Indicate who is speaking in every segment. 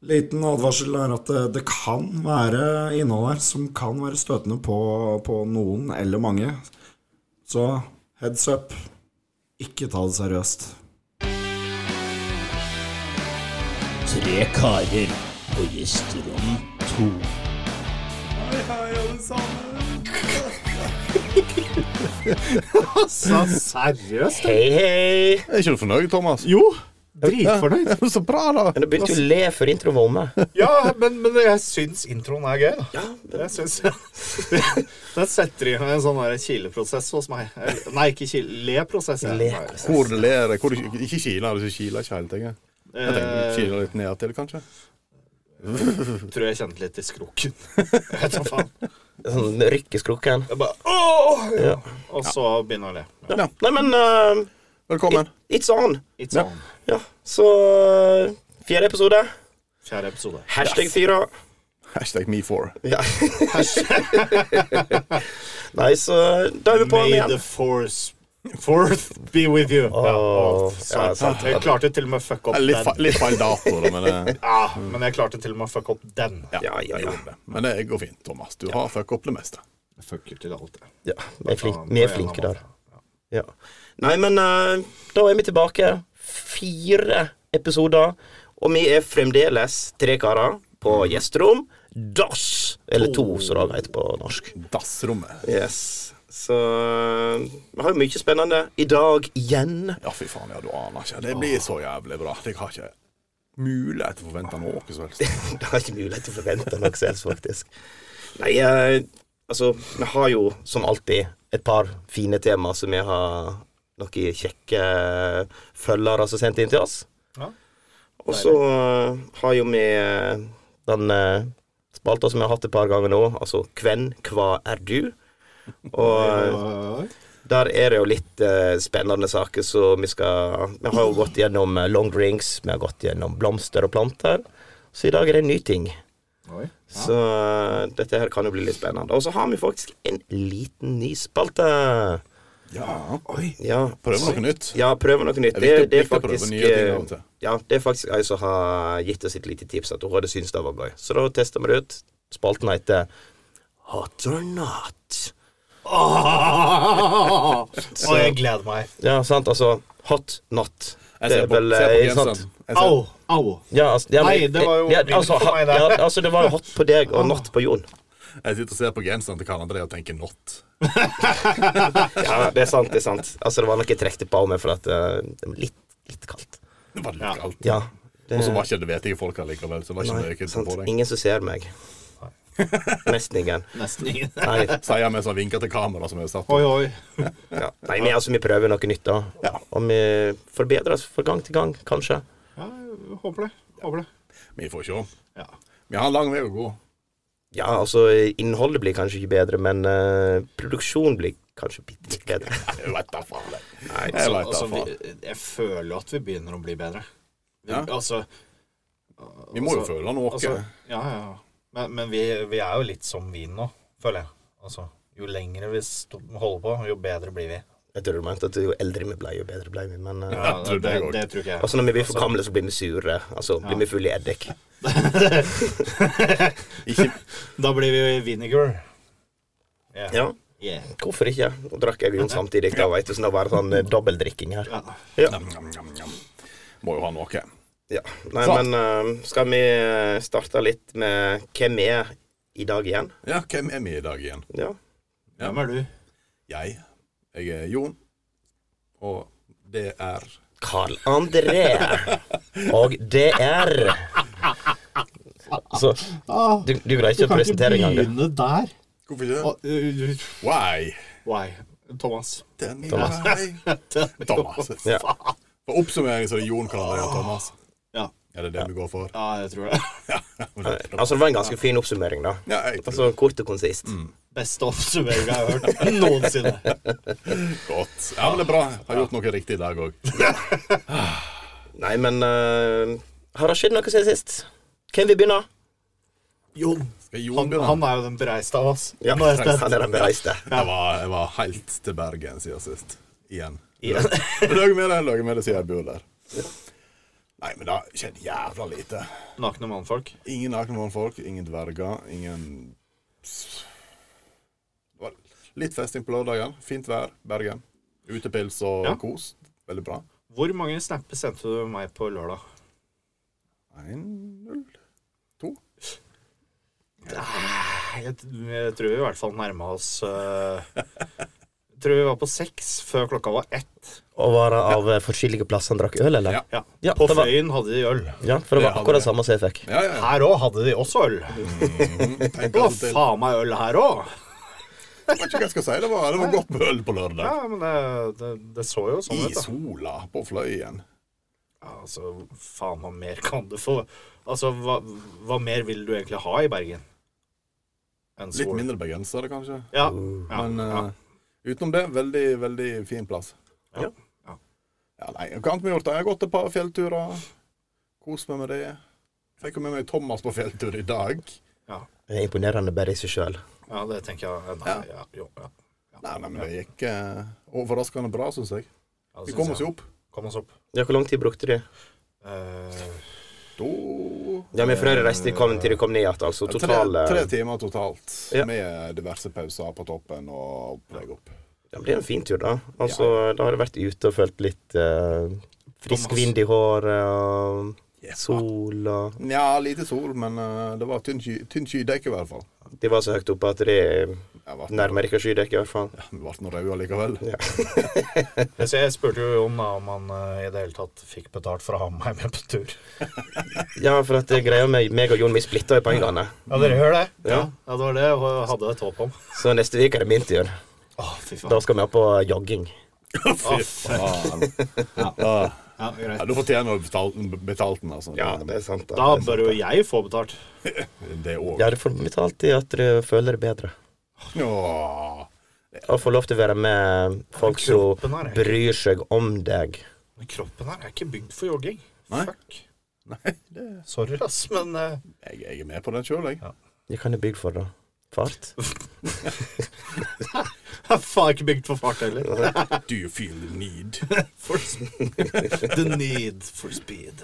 Speaker 1: Liten advarsel er at det, det kan være innhold her som kan være støtende på, på noen eller mange. Så heads up. Ikke ta det seriøst.
Speaker 2: Tre karer på gjesterom to.
Speaker 3: Så seriøst?
Speaker 4: Hei, hei.
Speaker 5: Er ikke du fornøyd, Thomas?
Speaker 3: Jo, dritfornøyd.
Speaker 5: Ja, så bra, da.
Speaker 4: Men du begynte jo å le før introen var omme.
Speaker 3: Ja, men, men jeg syns introen er gøy, da.
Speaker 4: Ja,
Speaker 3: Jeg syns Den setter i gang en sånn der kileprosess hos meg. Eller, Nei, ikke kile, leprosess. ja.
Speaker 4: le.
Speaker 3: Nei.
Speaker 5: Hvor det ler Hvor du, Ikke kiler, du kiler ikke hele tingen. Jeg tenker du
Speaker 3: Eh,
Speaker 5: kiler litt ned til, kanskje.
Speaker 3: tror jeg kjente litt i skrukken. Jeg vet da faen.
Speaker 4: Sånn rykkeskrukken.
Speaker 3: Jeg bare Åh!
Speaker 4: Ja.
Speaker 3: Og så begynner jeg å le.
Speaker 5: Ja,
Speaker 4: Nei, men eh,
Speaker 5: velkommen.
Speaker 4: it's on.
Speaker 3: It's on.
Speaker 4: Ja, så eh, Fjerde episode.
Speaker 3: Fjerde episode.
Speaker 4: Hashtag fyra.
Speaker 5: Hashtag me4.
Speaker 4: Ja. Nei, så da er vi på den
Speaker 3: May the
Speaker 4: igjen.
Speaker 3: force forth be with you. Ja, altså.
Speaker 4: Åh,
Speaker 3: og-
Speaker 4: ja, sant.
Speaker 3: Jeg klarte til og med å fucke opp
Speaker 5: Litt, fa-
Speaker 3: den.
Speaker 5: litt feil dato, da, men, eh, det-
Speaker 3: Ja, men jeg klarte til og med å fucke opp den.
Speaker 4: Ja, ja, ja.
Speaker 5: men det går fint, Thomas. Du har fucka opp det meste.
Speaker 3: Jeg fucker til alt, jeg.
Speaker 4: ja vi, er flink,
Speaker 3: Ja,
Speaker 4: vi er
Speaker 3: på en
Speaker 4: flinke
Speaker 3: eller
Speaker 4: der.
Speaker 3: annen måte.
Speaker 4: Ja. Nei, men eh, da er vi tilbake. Fire episoder, og vi er fremdeles tre karer på gjesterom. Dass! Eller to, som det heter på norsk.
Speaker 5: Dassrommet.
Speaker 4: Yes. Så eh, vi har jo mye spennende i dag igjen.
Speaker 5: Ja, fy faen, ja, du aner ikke. Det blir så jævlig bra. Jeg har ikke mulighet til å forvente noe som helst.
Speaker 4: det har ikke mulighet til å forvente noe selv, faktisk. Nei, eh, altså, vi har jo som alltid et par fine tema som vi har noen kjekke eh, følgere som sendte inn til oss.
Speaker 3: Ja.
Speaker 4: Og så eh, har jo vi eh, den eh, spalta som vi har hatt et par ganger nå, altså 'Kven, hva er du?' Og
Speaker 3: Ja.
Speaker 4: der er det jo litt eh, spennende saker, så vi skal Vi har jo gått gjennom eh, long drinks, vi har gått gjennom blomster og planter. Så i dag er det en ny ting.
Speaker 3: Oi.
Speaker 4: Så eh, dette her kan jo bli litt spennende. Og så har vi faktisk en liten ny spalte.
Speaker 5: Ja,
Speaker 3: Oi.
Speaker 4: Ja,
Speaker 5: Prøv noe nytt.
Speaker 4: ja prøve noe nytt.
Speaker 5: Det er
Speaker 4: Det,
Speaker 5: viktig-
Speaker 4: det, er
Speaker 5: viktig å prøve
Speaker 4: faktisk,
Speaker 5: nye ting av og
Speaker 4: eh,
Speaker 5: til.
Speaker 4: ja, det er faktisk ei som har gitt oss et lite tips at hun hadde syntes det var gøy. Så da tester vi det ut. Spalten heter Hot or not.
Speaker 3: Ah, og jeg gleder meg.
Speaker 4: Ja, sant, altså Hot not.
Speaker 5: Jeg ser
Speaker 4: Det er
Speaker 5: på,
Speaker 4: vel,
Speaker 5: ser på
Speaker 4: eh, sant?
Speaker 5: genseren. Jeg ser-
Speaker 3: Au, au.
Speaker 4: Ja, altså, ja, men-
Speaker 3: Nei, det var jo
Speaker 4: ja,
Speaker 3: vilt
Speaker 4: altså,
Speaker 3: for meg, det.
Speaker 4: ja, altså, det var jo hot på deg og not på Jon.
Speaker 5: Jeg sitter og ser på genseren til Karl André og tenker not.
Speaker 4: Ja, det er sant, det er sant. Altså, det var noe jeg trekte på meg, for at eh, det var litt, litt kaldt.
Speaker 5: Det var litt kaldt.
Speaker 4: Ja. Det,
Speaker 5: Og så var ikke det vettige folk allikevel. Så det var ikke
Speaker 4: Nei,
Speaker 5: mye kult
Speaker 4: sant.
Speaker 5: på deg.
Speaker 4: Ingen som ser meg. Nesten ingen.
Speaker 3: Nesten ingen.
Speaker 4: Nei,
Speaker 5: Sier jeg mens han vinker til kamera som er satt
Speaker 3: Oi, oi.
Speaker 4: ja. Nei men altså, vi prøver noe nytt, da. Og vi forbedrer oss fra gang til gang, kanskje.
Speaker 3: Ja, jeg håper det. Håper det.
Speaker 5: Vi får se.
Speaker 3: Ja.
Speaker 5: Vi har en lang vei å gå.
Speaker 4: Ja, altså, innholdet blir kanskje ikke bedre, men eh, produksjonen blir kanskje bitte litt bedre.
Speaker 5: Jeg vet da faen.
Speaker 4: Nei,
Speaker 5: Jeg vet da
Speaker 3: Altså, vi,
Speaker 5: faen.
Speaker 3: jeg føler at vi begynner å bli bedre. Vi,
Speaker 5: Ja.
Speaker 3: Altså,
Speaker 5: Vi må jo
Speaker 3: altså-
Speaker 5: føle noe.
Speaker 3: altså, ja, ja. ja. Men, men vi, vi er jo litt som vin nå, føler jeg. Altså, jo lengre vi sto- holder på, jo bedre blir vi.
Speaker 4: jeg tror du mente at jo eldre vi ble, jo bedre ble vi, men eh,
Speaker 3: Ja,
Speaker 5: tror
Speaker 3: det, det,
Speaker 5: jeg også.
Speaker 3: tror ikke jeg.
Speaker 4: Altså, når vi blir for gamle, så blir vi sure. Altså, blir vi fulle i eddik.
Speaker 5: Ikke,
Speaker 3: Da blir vi vinegar. Yeah.
Speaker 4: Ja,
Speaker 3: Yeah.
Speaker 4: hvorfor ikke? Nå drakk jeg Jon samtidig, da, veit du, så det var sånn eh, dobbeldrikking her.
Speaker 3: Ja.
Speaker 4: Ja.
Speaker 5: Njam, njam, njam. Må jo ha noe.
Speaker 4: Ja. Nei,
Speaker 5: Sant.
Speaker 4: men eh, skal vi eh, starte litt med hvem vi er i dag igjen?
Speaker 5: Ja, hvem er vi i dag igjen?
Speaker 4: Ja.
Speaker 5: Ja.
Speaker 3: Hvem er du?
Speaker 5: Jeg. Jeg er Jon. Og det er
Speaker 4: Carl André og DR. Så
Speaker 3: Ah,
Speaker 4: du, du greier ikke å presentere engang, du.
Speaker 3: der.
Speaker 5: Hvorfor ikke?
Speaker 3: Og, uh, uh,
Speaker 5: Why?
Speaker 3: Why? Thomas.
Speaker 5: Den
Speaker 4: Thomas.
Speaker 5: Why? Thomas.
Speaker 4: Ja.
Speaker 5: For oppsummering så er det Jon Karl André og Thomas.
Speaker 3: Ja.
Speaker 5: Er det det vi går for?
Speaker 3: ja, jeg tror det.
Speaker 4: Altså, det var en ganske fin oppsummering, da.
Speaker 5: Ja, jeg tror
Speaker 4: Altså kort og konsist.
Speaker 3: Beste oppsummering jeg har hørt noensinne.
Speaker 5: godt. Ja, men det er bra. Har gjort noe riktig i dag òg.
Speaker 4: Nei, men eh, Har det skjedd noe siden sist? Hvem vil begynne?
Speaker 3: Jon.
Speaker 5: Skal Jon
Speaker 3: Han,
Speaker 5: begynne?
Speaker 3: han er jo den bereiste av oss.
Speaker 4: Ja,
Speaker 3: Nå er jeg
Speaker 4: han er den bereiste.
Speaker 5: Jeg var, jeg var helt til Bergen siden sist. Igjen.
Speaker 4: Igjen.
Speaker 5: Jeg lager med det, jeg lager med det siden jeg bor der. Nei, men det har skjedd jævla lite.
Speaker 3: Nakne mannfolk.
Speaker 5: Ingen nakne mannfolk, ingen dverger, ingen Det var Litt festing på lørdagen. Fint vær, Bergen. Utepils og
Speaker 3: Ja.
Speaker 5: kos. Veldig bra.
Speaker 3: Hvor mange snapper sendte du meg på lørdag?
Speaker 5: 1-0. To.
Speaker 3: Jeg, jeg tror vi i hvert fall nærma oss eh, Jeg tror vi var på seks før klokka var ett.
Speaker 4: Og var det av eh, forskjellige plasser han drakk øl, eller?
Speaker 5: Ja.
Speaker 3: Ja.
Speaker 4: Ja,
Speaker 3: på
Speaker 4: det var-
Speaker 3: Føyen hadde de øl.
Speaker 4: Ja, for det
Speaker 5: Det
Speaker 4: var
Speaker 5: hadde
Speaker 4: akkurat
Speaker 5: jeg.
Speaker 4: det samme som jeg fikk.
Speaker 5: Ja, ja, ja.
Speaker 3: Her òg hadde de også øl.
Speaker 5: Tenk
Speaker 3: Det var
Speaker 5: altså til.
Speaker 3: faen meg øl her òg.
Speaker 5: Jeg vet ikke hva jeg skal si. Det var, det var godt med øl på
Speaker 3: Ja,
Speaker 5: lørdag.
Speaker 3: men det, det, det så jo sånn
Speaker 5: I
Speaker 3: ut, da.
Speaker 5: sola, på Fløyen.
Speaker 3: Ja, Altså, faen, hva mer kan du få? Altså, hva, hva mer vil du egentlig ha i Bergen? Enn
Speaker 5: Litt
Speaker 3: sol?
Speaker 5: mindre begrensere, kanskje.
Speaker 3: Ja. ja,
Speaker 5: Men
Speaker 3: ja.
Speaker 5: eh, utenom det, veldig, veldig fin plass.
Speaker 3: Ja. Ja.
Speaker 5: Ja, nei, hva annet vi har gjort? da? Jeg har gått et par fjellturer. Kost meg med det. Fikk jo med meg Thomas på fjelltur i dag.
Speaker 4: Det er imponerende bare i seg sjøl.
Speaker 3: ja, det tenker jeg. Nei,
Speaker 5: Ja.
Speaker 3: ja, jo, ja.
Speaker 5: Nei, nei, men det gikk eh, overraskende bra, syns jeg.
Speaker 3: Altså, Ja, det
Speaker 5: Vi
Speaker 3: synes
Speaker 5: kom
Speaker 3: jeg.
Speaker 5: oss jo opp.
Speaker 3: Kom oss opp.
Speaker 4: Ja, hvor lang tid brukte de?
Speaker 3: Eh,
Speaker 5: To
Speaker 4: Ja, men for dere reiste kom til de kom ned igjen, altså.
Speaker 5: tre,
Speaker 4: Total eh,
Speaker 5: tre timer totalt,
Speaker 4: Ja.
Speaker 5: med diverse pauser på toppen og opplegg opp.
Speaker 4: Det blir en fin tur, da. Altså, Da har jeg vært ute og følt litt eh, frisk
Speaker 3: Thomas.
Speaker 4: vind i håret og sol og
Speaker 5: Nja, lite sol, men eh, det var tynn sky- tynn skydekke i hvert fall.
Speaker 4: De var så høyt oppe at de
Speaker 5: Jeg ble,
Speaker 4: nærmer ikke skydekke, i hvert fall.
Speaker 5: vi ble nå røde likevel.
Speaker 3: Jeg ser- jeg spurte jo Jon da om han eh, i det hele tatt fikk betalt for å ha meg med på tur.
Speaker 4: Ja, for at det greia med meg og Jon, vi splitta jo pengene.
Speaker 3: Ja,
Speaker 5: Mm.
Speaker 3: dere hører det?
Speaker 4: Ja.
Speaker 3: ja det var det jeg hadde et håp om.
Speaker 4: Så neste uke er det min tur.
Speaker 3: Å, fy faen.
Speaker 4: Da skal vi opp på jogging.
Speaker 3: Å, fuck.
Speaker 5: Ja.
Speaker 3: Ja, greit.
Speaker 5: Ja, du fortjener å betale betalt den, altså.
Speaker 4: Ja, det er sant.
Speaker 3: Da
Speaker 4: Da.
Speaker 3: bør jo jeg få betalt.
Speaker 5: Det òg.
Speaker 4: Ja, du får betalt i at du føler det bedre.
Speaker 5: Ja.
Speaker 4: Og får lov til å være med folk som
Speaker 3: Kroppen her er ikke,
Speaker 4: bryr seg om deg.
Speaker 3: men kroppen her er ikke bygd for jogging.
Speaker 5: Nei.
Speaker 3: Fuck.
Speaker 5: Nei, det,
Speaker 3: Sorry, ass, men eh,
Speaker 5: jeg, jeg er med på den sjøl, jeg.
Speaker 4: Det kan jeg bygge for, da. Fart.
Speaker 3: jeg er faen ikke bygd for fart heller.
Speaker 5: Do you feel the need?
Speaker 3: For speed. The need for speed.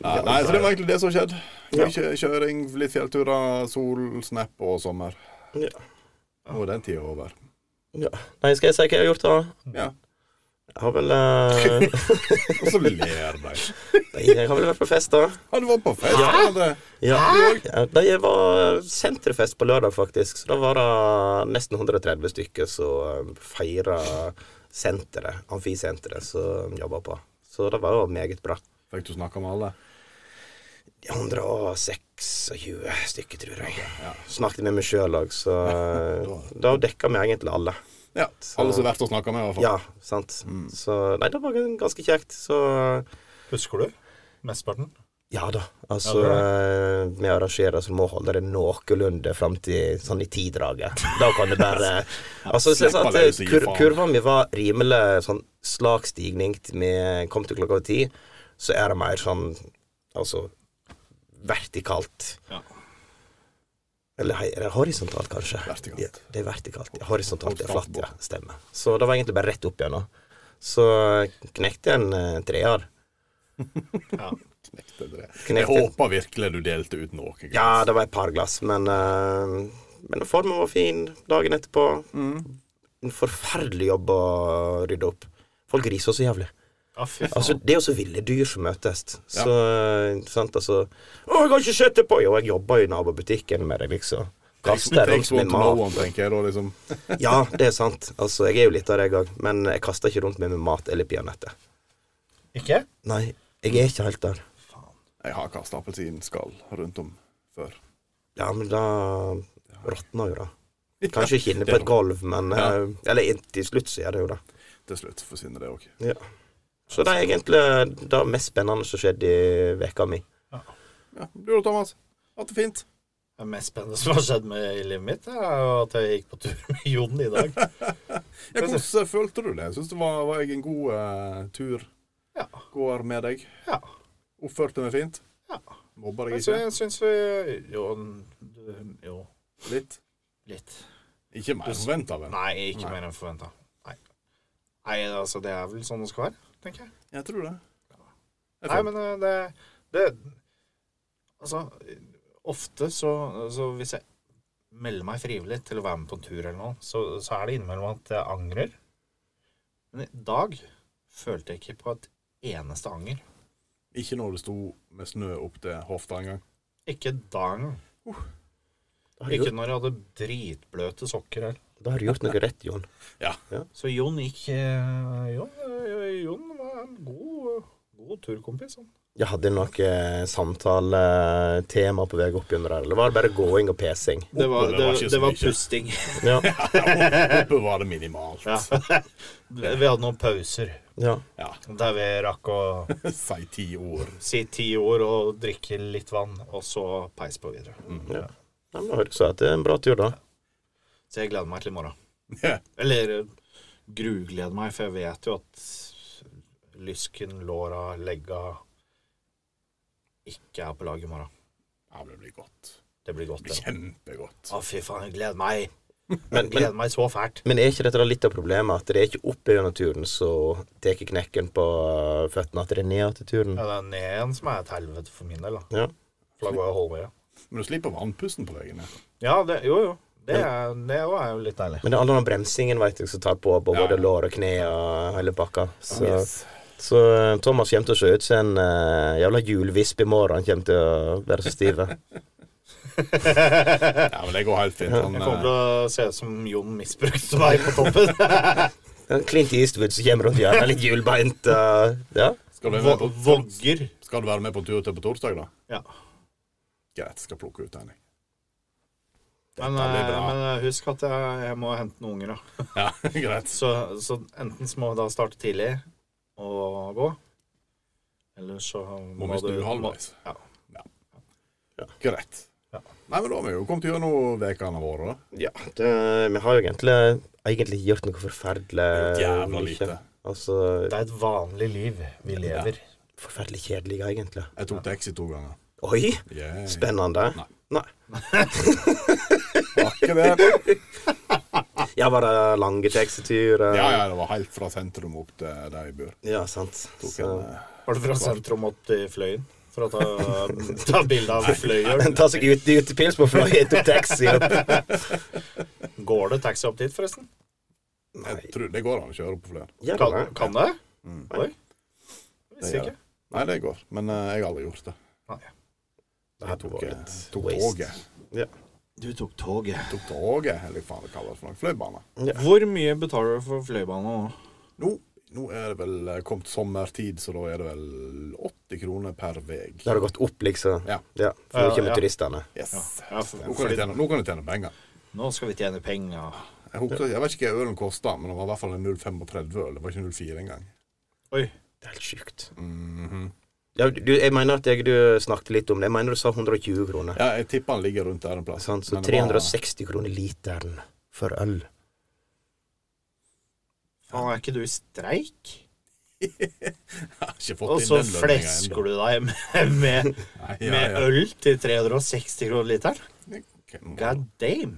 Speaker 5: Nei, nei, så det var egentlig det som skjedde. Mye kjøring, litt fjellturer, sol, snap og sommer.
Speaker 4: Ja.
Speaker 5: Nå er den tida over.
Speaker 4: ja. Nei, skal jeg si hva jeg har gjort, da?
Speaker 5: Ja.
Speaker 4: Jeg har vel eh,
Speaker 5: Og så ler de.
Speaker 4: Nei, Jeg har vel vært på fest, da.
Speaker 5: Ja, du var på fest, ja. André.
Speaker 4: Ja. Ja, da jeg var senterfest på lørdag, faktisk. Så da var det nesten 130 stykker som feira senteret, amfisenteret, som jobba på. Så det var jo meget bra.
Speaker 5: Fikk du snakka med alle?
Speaker 4: 126 stykker, tror jeg.
Speaker 5: ja.
Speaker 4: Snakket med meg sjøl òg, så uh, da dekka vi egentlig alle.
Speaker 5: Ja. Alle som er verdt å snakke med, i hvert fall.
Speaker 4: Ja, sant. Så Nei, det var ganske kjekt. Så
Speaker 3: Husker du? Mesteparten?
Speaker 4: Ja da. Altså,
Speaker 3: Ja, bra.
Speaker 4: eh, vi arrangerer så må holde det noenlunde fram til sånn i tidraget. Da kan det bare Altså, jeg synes
Speaker 5: slipp
Speaker 4: at
Speaker 5: alle løs og gi
Speaker 4: kur
Speaker 5: faen.
Speaker 4: kurva mi var rimelig sånn slak stigning til vi kom til klokka ti. Så er det mer sånn altså vertikalt.
Speaker 3: Ja.
Speaker 4: Eller hei, er det horisontalt, kanskje?
Speaker 5: Vertikalt.
Speaker 4: Ja, det er vertikalt. Ja, horisontalt det er
Speaker 5: Horisontalt
Speaker 4: flatt, ja. Stemmer. Så det var egentlig bare rett opp igjennom. Så knekte jeg en eh, treer.
Speaker 5: Knekte dere. Jeg
Speaker 4: Knekte.
Speaker 5: håper virkelig du delte ut noe. guys.
Speaker 4: Ja, det var et par glass, men, eh, men formen var fin dagen etterpå.
Speaker 5: Mm.
Speaker 4: En forferdelig jobb å rydde opp. Folk griser så jævlig.
Speaker 3: Ja, fy faen.
Speaker 4: Altså, det er jo så ville dyr som møtes. Så, eh, sant, altså Å, jeg har ikke sett det på! Jo, jeg jobber jo i nabobutikken med det, liksom. Kaster rundt
Speaker 5: Takes one
Speaker 4: med
Speaker 5: to know
Speaker 4: mat.
Speaker 5: one, tenker jeg da, liksom.
Speaker 4: Ja, det er sant. Altså, jeg er jo litt av det, jeg òg. Men jeg kaster ikke rundt med meg mat eller peanøtter.
Speaker 3: Ikke?
Speaker 4: Nei, jeg er ikke helt der.
Speaker 5: Jeg har kasta appelsinskall rundt om før.
Speaker 4: Ja, men da råtner jo det. Kanskje ikke inne på et gulv, men eh, Eller in- til slutt så gjør det jo det.
Speaker 5: Til slutt forsvinner det òg.
Speaker 4: Ja. Så det er egentlig det mest spennende som skjedde i veka mi.
Speaker 5: Ja, du da, Thomas? Hatt det fint?
Speaker 3: Det mest spennende som har skjedd med i livet mitt, er jo at jeg gikk på tur med Jon i dag.
Speaker 5: Ja, hvordan følte du det? Syns du var, var jeg en god eh, tur
Speaker 3: Ja.
Speaker 5: går med deg?
Speaker 3: Ja.
Speaker 5: Oppførte meg fint?
Speaker 3: ja.
Speaker 5: Mobba deg
Speaker 3: Jeg sy-
Speaker 5: ikke?
Speaker 3: jeg syns vi Jo, du- jo
Speaker 5: Litt?
Speaker 3: litt.
Speaker 5: Ikke mer forventa, vel?
Speaker 3: Nei, ikke
Speaker 5: Nei.
Speaker 3: mer enn forventa. Nei. Nei, altså, det er vel sånn det skal være, tenker jeg.
Speaker 5: Jeg tror det. Det er
Speaker 3: Nei,
Speaker 5: fint.
Speaker 3: men eh, det, det Altså, ofte så, så Hvis jeg melder meg frivillig til å være med på en tur eller noe, så, så er det innimellom at jeg angrer. Men i dag følte jeg ikke på et eneste anger.
Speaker 5: Ikke når det sto med snø opp til hofta engang.
Speaker 3: Ikke da engang.
Speaker 4: Da har, du
Speaker 3: Ikke
Speaker 4: gjort,
Speaker 3: når jeg hadde dritbløte sokker her.
Speaker 4: da har du gjort noe rett, Jon.
Speaker 3: Så Jon gikk eh, Jon, eh, Jon var en god, god turkompis. Han.
Speaker 4: Jeg hadde noe samtaletema på vei opp gjennom der, eller var det bare gåing og pesing?
Speaker 3: Det var,
Speaker 5: Oppholdet
Speaker 3: det,
Speaker 5: var ikke så
Speaker 3: det var
Speaker 5: mye.
Speaker 3: pusting.
Speaker 4: Ja.
Speaker 5: Oppe var det minimalt.
Speaker 3: Ja. Vi hadde noen pauser
Speaker 4: ja.
Speaker 5: Ja.
Speaker 3: der vi rakk å
Speaker 5: Si ti ord.
Speaker 3: si ti ord og drikke litt vann, og så peis på videre.
Speaker 5: Mm.
Speaker 4: ja. ja men da høres det ut som en bra tur, da.
Speaker 3: Så jeg gleder meg til i morgen.
Speaker 5: Ja.
Speaker 3: Eller eh, grugleder meg, for jeg vet jo at lysken, låra, legga ikke er på lag i morgen.
Speaker 5: Ja, men det blir godt.
Speaker 3: Det blir godt,
Speaker 5: Det blir
Speaker 3: det.
Speaker 5: kjempegodt.
Speaker 3: Å, fy faen, jeg gleder meg.
Speaker 4: Men,
Speaker 3: Jeg
Speaker 4: men,
Speaker 3: gleder meg så fælt.
Speaker 4: men er ikke dette da litt av problemet, at det er ikke oppe gjennom turen som tar knekken på øh, føttene, at det er ned til turen?
Speaker 3: Ja, det er ned igjen som er et helvete for min del, da.
Speaker 4: Ja.
Speaker 3: For da går jeg og holder meg igjen.
Speaker 5: Men du slipper vannpusten på veien ned.
Speaker 3: Ja, det, jo, jo. Det er, det er jo- er jo litt deilig.
Speaker 4: Men det er all den bremsingen vet jeg, som tar på på
Speaker 5: Ja.
Speaker 4: både lår og kne og hele pakka. Så,
Speaker 5: Yes.
Speaker 4: så eh, Thomas kommer til å se ut som en eh, jævla hjulvisp i morgen. Han kommer til å være så stiv. eh.
Speaker 5: Ja, men det går helt fint. Han,
Speaker 3: Jeg kommer til
Speaker 5: eh,
Speaker 3: å se ut som Jon misbrukte meg på toppen.
Speaker 4: En Clint Eastwood som kommer rundt hjørnet, litt hjulbeint. eh, ja.
Speaker 5: skal, du være med
Speaker 3: Vo-
Speaker 5: på,
Speaker 3: Vogger.
Speaker 5: skal du være med på tur til på torsdag, da?
Speaker 3: Ja.
Speaker 5: Greit, skal plukke ut en. jeg.
Speaker 3: Men,
Speaker 5: Dette blir
Speaker 3: eh,
Speaker 5: bra.
Speaker 3: men eh, husk at jeg, jeg må hente noen unger, da.
Speaker 5: Ja, greit.
Speaker 3: Så, så enten så må vi da starte tidlig og gå, eller så
Speaker 5: Må vi snu
Speaker 3: du-
Speaker 5: halvveis?
Speaker 3: Ja.
Speaker 5: Greit.
Speaker 3: Ja.
Speaker 5: Nei, men da har vi jo kommet gjennom ukene våre, da.
Speaker 4: ja det, vi har jo egentlig, egentlig ikke gjort noe forferdelig
Speaker 5: Jævla
Speaker 4: Eh, mye.
Speaker 5: lite.
Speaker 4: Altså
Speaker 3: Det er et vanlig liv vi lever.
Speaker 4: Forferdelig kjedelig, egentlig.
Speaker 5: Jeg tok taxi to ganger.
Speaker 4: Oi!
Speaker 5: Yeah.
Speaker 4: Spennende.
Speaker 5: Nei.
Speaker 4: Nei.
Speaker 5: Ikke det.
Speaker 4: Ja, var det lange taxiturer?
Speaker 5: Ja, ja, det var helt fra sentrum opp til der jeg bor.
Speaker 4: ja, sant.
Speaker 5: Tok
Speaker 4: Så-
Speaker 5: en, eh,
Speaker 3: Var det fra sentrum opp til Fløyen? For å ta, ta bilde av
Speaker 5: eh,
Speaker 3: Fløyen.
Speaker 4: Ta seg ut, ut til pils på fløy, tok taxi opp.
Speaker 3: Går det taxi opp dit, forresten?
Speaker 5: jeg tror det går an å kjøre på flere.
Speaker 4: Ja, det
Speaker 3: Kan,
Speaker 4: var-
Speaker 3: kan det? Oi. Jeg visste
Speaker 5: Det gjør
Speaker 3: ikke.
Speaker 5: Nei, det går. Men eh, jeg har aldri gjort det.
Speaker 3: Nei.
Speaker 5: Jeg tok,
Speaker 4: var
Speaker 5: eh,
Speaker 4: et
Speaker 5: tok
Speaker 4: waste.
Speaker 5: toget.
Speaker 4: Ja.
Speaker 3: Du tok toget.
Speaker 5: Tok toget, eller hva faen det kalles for noe. Fløybane.
Speaker 3: Hvor mye betaler du for Fløybanen nå?
Speaker 5: Nå, nå er det vel eh, kommet sommertid, så da er det vel 80 kroner per vei.
Speaker 4: Da har det gått opp, liksom.
Speaker 5: Ja.
Speaker 4: Ja, for
Speaker 3: Ja,
Speaker 4: nå kommer
Speaker 3: ja.
Speaker 4: turistene.
Speaker 5: Yes.
Speaker 3: Ja, for-
Speaker 5: Nå kan du tjene, nå kan du tjene penger.
Speaker 3: Nå skal vi tjene penger.
Speaker 5: Jeg, husker, jeg vet ikke hva ølen kosta, men det var i hvert fall en 0,35-øl. Det var ikke 0,4 engang.
Speaker 3: Oi.
Speaker 4: Det er helt sjukt.
Speaker 3: Mhm.
Speaker 4: ja, du, jeg mener at jeg, du snakket litt om det. Jeg mener du sa 120 kroner.
Speaker 5: Ja, jeg tipper den ligger rundt der en plass.
Speaker 4: Sant? Så
Speaker 5: Men det var-
Speaker 4: 360 kroner literen for øl.
Speaker 3: Faen, er ikke du i streik?
Speaker 5: Jeg har ikke fått
Speaker 3: Og
Speaker 5: inn
Speaker 3: så
Speaker 5: den lønningen
Speaker 3: flesker
Speaker 5: ennå.
Speaker 3: du deg med, med,
Speaker 5: Nei, ja,
Speaker 3: med
Speaker 5: ja.
Speaker 3: øl til 360 kroner literen?
Speaker 5: Ok, nå-
Speaker 3: God damn.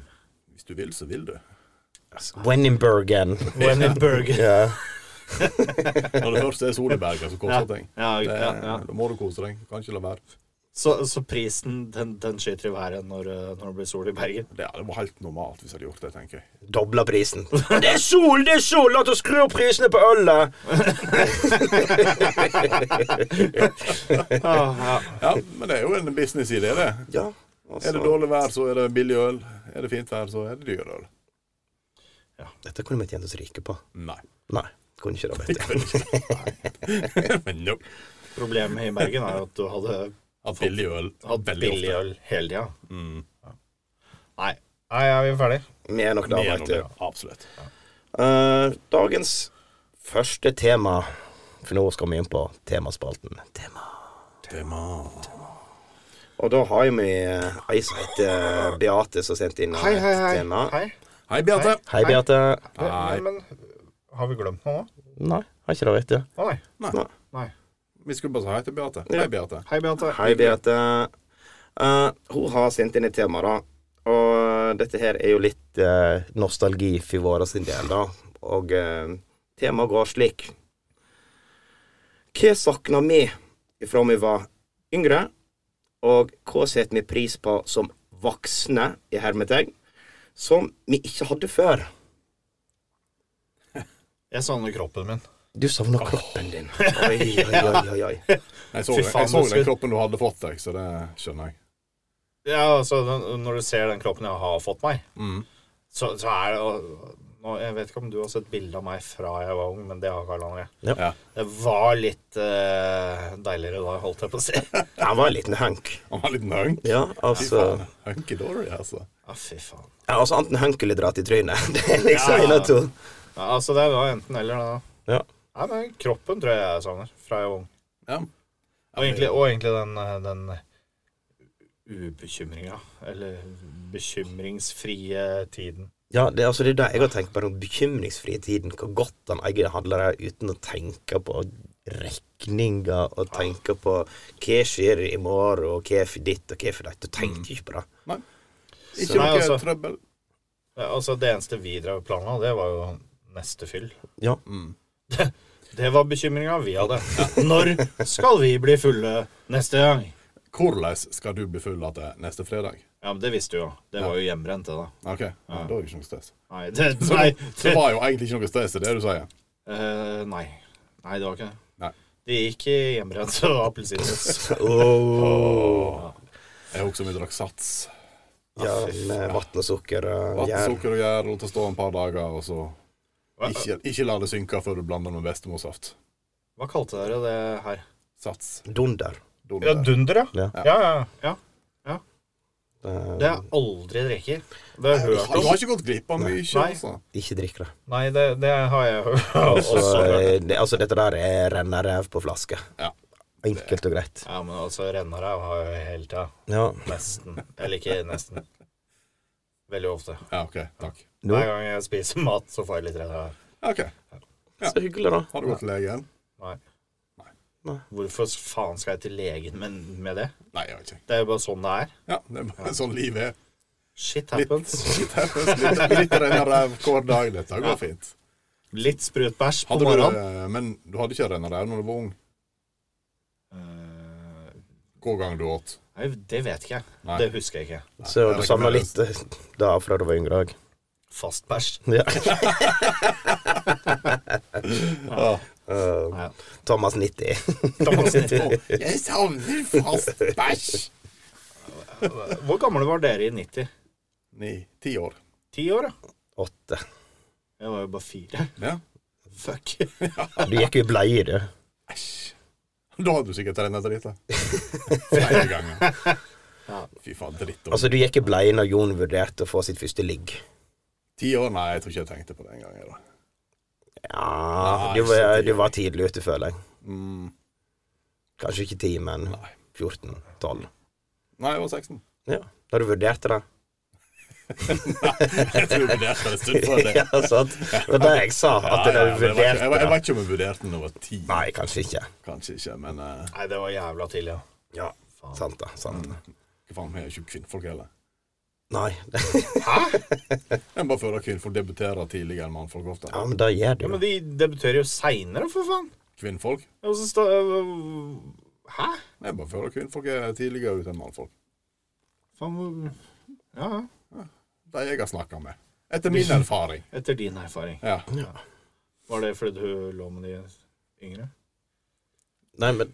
Speaker 5: Hvis du vil, så vil du.
Speaker 4: Wenninbergen.
Speaker 3: When in Bergen.
Speaker 4: ja.
Speaker 5: Når det først er Soleberga som koster ting.
Speaker 3: Ja,
Speaker 5: Det,
Speaker 3: ja, ja.
Speaker 5: Da må du kose deg. Kan ikke la være.
Speaker 3: Så, så prisen, den, den skyter i været når, eh, når det blir sol i Bergen.
Speaker 5: Det, det var helt normalt hvis jeg hadde gjort det, tenker jeg.
Speaker 4: Dobla prisen. Det er sol, det er sol! La oss skru opp prisene på ølet!
Speaker 3: Ah, ja.
Speaker 5: Ja, Men det er jo en businessidé, det.
Speaker 4: Ja.
Speaker 5: Er det
Speaker 4: Altså,
Speaker 5: dårlig vær, så er det billig øl. Er det fint vær, så er det dyr øl.
Speaker 4: dette kunne vi tjent oss rike på.
Speaker 5: Nei.
Speaker 4: Nei, kunne ikke det, vet du.
Speaker 5: Men no.
Speaker 3: Problemet i Bergen er jo at du hadde
Speaker 5: At billig øl
Speaker 3: hatt
Speaker 5: veldig
Speaker 3: billig
Speaker 5: ofte. Mm.
Speaker 3: øl hele tida. Ja. Nei. Nei, er vi ferdig?
Speaker 4: Vi er nok
Speaker 5: Det
Speaker 4: der,
Speaker 5: er
Speaker 4: vet
Speaker 5: noe
Speaker 4: du.
Speaker 5: det, Absolutt.
Speaker 4: Eh, dagens første tema For nå skal vi inn på temaspalten. Tema.
Speaker 5: Tema.
Speaker 4: Og da har vi eh, ei som heter Beate, som sendte inn
Speaker 3: Hei, hei, hei.
Speaker 4: et tema.
Speaker 3: hei.
Speaker 5: Hei, Beate.
Speaker 4: Hei, Beate.
Speaker 5: Hei.
Speaker 3: Men, men har vi glemt noe nå?
Speaker 4: Nei, har ikke det, vet du.
Speaker 3: Å, nei.
Speaker 4: Nei.
Speaker 3: nei.
Speaker 5: Vi skulle bare si hei til Beate. Hei, Beate.
Speaker 3: Hei, Beate.
Speaker 4: Hei, Beate. Eh, hun har sendt inn et tema, da. Og dette her er jo litt eh, nostalgi for våre sin del, da. Og eh, temaet går slik. Hva savner vi ifra vi var yngre, og hva setter vi pris på som voksne, i hermetegn, som vi ikke hadde før.
Speaker 3: Jeg savner kroppen min.
Speaker 4: Du savner kroppen din. Oi, oi, oi, oi. oi.
Speaker 5: Jeg så,
Speaker 3: Fy
Speaker 5: det-
Speaker 3: faen,
Speaker 5: jeg
Speaker 3: det
Speaker 5: så den
Speaker 3: skulle-
Speaker 5: kroppen du hadde fått deg, så det skjønner jeg.
Speaker 3: Ja, altså, den- når du ser den kroppen jeg har fått meg,
Speaker 5: Mm.
Speaker 3: så, så er det og- nå, Jeg vet ikke om du har sett bilde av meg fra jeg var ung, men det har Karl André.
Speaker 5: Ja.
Speaker 3: Det var litt eh, deiligere da, holdt jeg på å si.
Speaker 4: Han var en liten hunk.
Speaker 5: Han var litt hunk.
Speaker 4: Ja, altså,
Speaker 5: Hunky-dory, altså.
Speaker 3: Ja, fy faen.
Speaker 4: ja, altså Enten hunk eller dra til trynet. Det er liksom
Speaker 3: Ja.
Speaker 4: en av to.
Speaker 3: Ja, altså, det var enten eller, da.
Speaker 4: Ja.
Speaker 3: Nei, men kroppen tror jeg jeg savner fra jeg var ung.
Speaker 5: Ja.
Speaker 3: Og egentlig, og egentlig den, eh, den ubekymringa, eller bekymringsfrie tiden.
Speaker 4: Ja, det, er altså, det er det jeg har tenkt på, den bekymringsfrie tiden. Hvor godt han eier handler der uten å tenke på regninger og tenke på hva skjer i morgen, og hva er for ditt og hva er for ditt. Du tenker ikke på det.
Speaker 5: Ikke
Speaker 3: Så- Nei,
Speaker 5: noe
Speaker 3: altså-
Speaker 5: trøbbel.
Speaker 3: Ja, altså, det eneste vi drev og planla, det var jo neste fyll.
Speaker 4: Ja.
Speaker 3: Det var bekymringa vi hadde. Når skal vi bli fulle neste gang?
Speaker 5: Hvordan skal du bli full igjen neste fredag?
Speaker 3: Ja, men Det visste du jo. Det var jo hjemmebrent, det, da.
Speaker 5: OK, ja. da er det ikke noe stress.
Speaker 3: Nei, det,
Speaker 5: Så
Speaker 3: nei,
Speaker 5: det,
Speaker 3: det,
Speaker 5: det var jo egentlig ikke noe stress i det du sier.
Speaker 3: Eh, nei. nei, det var ikke det.
Speaker 5: Nei.
Speaker 3: Det gikk i hjemmebrent og appelsinjuice.
Speaker 5: Jeg husker vi drakk Sats.
Speaker 4: Ja, med vann og sukker og
Speaker 5: Vann,
Speaker 4: gjær.
Speaker 5: sukker og gjær, lot det stå en par dager, og så
Speaker 3: Hva,
Speaker 5: ikke, ikke la det synke før du blander med bestemorsaft.
Speaker 3: hva kalte dere det her?
Speaker 5: Sats.
Speaker 4: Dunder.
Speaker 5: Donut.
Speaker 3: Ja, Dunder,
Speaker 4: Ja.
Speaker 3: Ja, ja, ja.
Speaker 4: Eh,
Speaker 3: Det jeg aldri drikker. Det har jeg hørt
Speaker 5: Du
Speaker 3: om.
Speaker 5: har ikke gått glipp av mye,
Speaker 3: Nei.
Speaker 5: altså.
Speaker 4: ikke drikk det.
Speaker 3: Nei, det, det har jeg hørt
Speaker 4: Så,
Speaker 3: også.
Speaker 4: eh, det, altså, dette der er renneræv på flaske.
Speaker 5: Ja.
Speaker 4: Enkelt og greit.
Speaker 3: Ja, men altså, rennaræv har jeg hele tida.
Speaker 4: Ja.
Speaker 3: Nesten. Eller ikke nesten. Veldig ofte.
Speaker 5: Ja, OK. Takk.
Speaker 4: Nå.
Speaker 3: Hver gang jeg spiser mat, så får jeg litt rennaræv.
Speaker 5: OK.
Speaker 4: Så hyggelig, da.
Speaker 5: Har du gått til legen?
Speaker 3: Nei.
Speaker 4: Nei.
Speaker 3: Hvorfor faen skal jeg til legen med, med det?
Speaker 5: Nei, jeg vet ikke.
Speaker 3: Det er jo bare sånn det er.
Speaker 5: Ja, det er bare sånn livet er.
Speaker 3: Shit
Speaker 5: Litt,
Speaker 3: happens.
Speaker 5: litt, litt, litt renner ræv hver dag. Dette går fint.
Speaker 3: Litt sprutbæsj på
Speaker 5: Hadde du,
Speaker 3: morgenen.
Speaker 5: eh, men du hadde ikke renner ræv når du var ung?
Speaker 3: Eh,
Speaker 5: Hver gang du åt?
Speaker 3: Nei, det vet ikke jeg.
Speaker 5: Nei.
Speaker 3: Det husker jeg ikke.
Speaker 4: Så
Speaker 5: jeg
Speaker 4: du
Speaker 5: rekker
Speaker 4: savna
Speaker 5: med
Speaker 4: litt eh, da fra du var yngre òg.
Speaker 3: Fast bæsj.
Speaker 4: Ja.
Speaker 5: Ja.
Speaker 4: Eh,
Speaker 3: Nei.
Speaker 4: Thomas 90.
Speaker 5: Jeg savner fast bæsj!
Speaker 3: Hvor gamle var dere i 90?
Speaker 5: Ni. Ti år.
Speaker 3: Ti år, ja?
Speaker 4: Åtte.
Speaker 3: Jeg var jo bare fire.
Speaker 5: Ja.
Speaker 3: Fuck.
Speaker 4: Du gikk jo i bleie, du.
Speaker 5: Æsj. Da hadde du sikkert trent dritt. da. Flere ganger. Fy faen, dritt.
Speaker 4: Altså, du gikk i bleie når Jon vurderte å få sitt første ligg.
Speaker 5: Ti år? Nei, jeg tror ikke jeg tenkte på det en gang. jeg, da.
Speaker 4: Ja,
Speaker 5: Nei,
Speaker 4: du
Speaker 5: så
Speaker 4: var,
Speaker 5: det-
Speaker 4: du var tidlig ute, føler jeg.
Speaker 5: Mm.
Speaker 4: Kanskje ikke 10, men
Speaker 5: Nei.
Speaker 4: 14-12.
Speaker 5: Nei, jeg var 16.
Speaker 4: Ja. Da du vurderte det.
Speaker 5: Jeg tror jeg vurderte det en stund før det.
Speaker 4: Ja, sant? Det var det jeg sa. At
Speaker 5: Ja,
Speaker 4: da du
Speaker 5: ja, men jeg, var ikke, jeg, var, jeg
Speaker 4: vurderte det.
Speaker 5: vet ikke om jeg vurderte den da jeg var ti.
Speaker 4: Nei, kanskje ikke.
Speaker 5: Kanskje ikke, men eh,
Speaker 3: Nei, det var jævla tidlig, ja.
Speaker 4: Ja, sant da, sant
Speaker 5: Mm.
Speaker 4: da.
Speaker 5: hva faen, vi er jo ikke kvinnfolk heller.
Speaker 4: Nei,
Speaker 5: En bare føler at kvinnfolk debuterer tidligere enn mannfolk ofte.
Speaker 4: ja, men det gjør du
Speaker 3: ja
Speaker 4: jo.
Speaker 3: men de debuterer jo seinere, for faen.
Speaker 5: Kvinnfolk?
Speaker 3: Og så sta- Hæ?
Speaker 5: Jeg bare føler at kvinnfolk er tidligere ute enn mannfolk.
Speaker 3: Faen, hvor- ja, ja.
Speaker 5: De jeg har snakka med. Etter min erfaring.
Speaker 3: Etter din erfaring.
Speaker 5: Ja.
Speaker 4: Ja.
Speaker 3: Var det fordi du lå med de yngre?
Speaker 4: Nei, men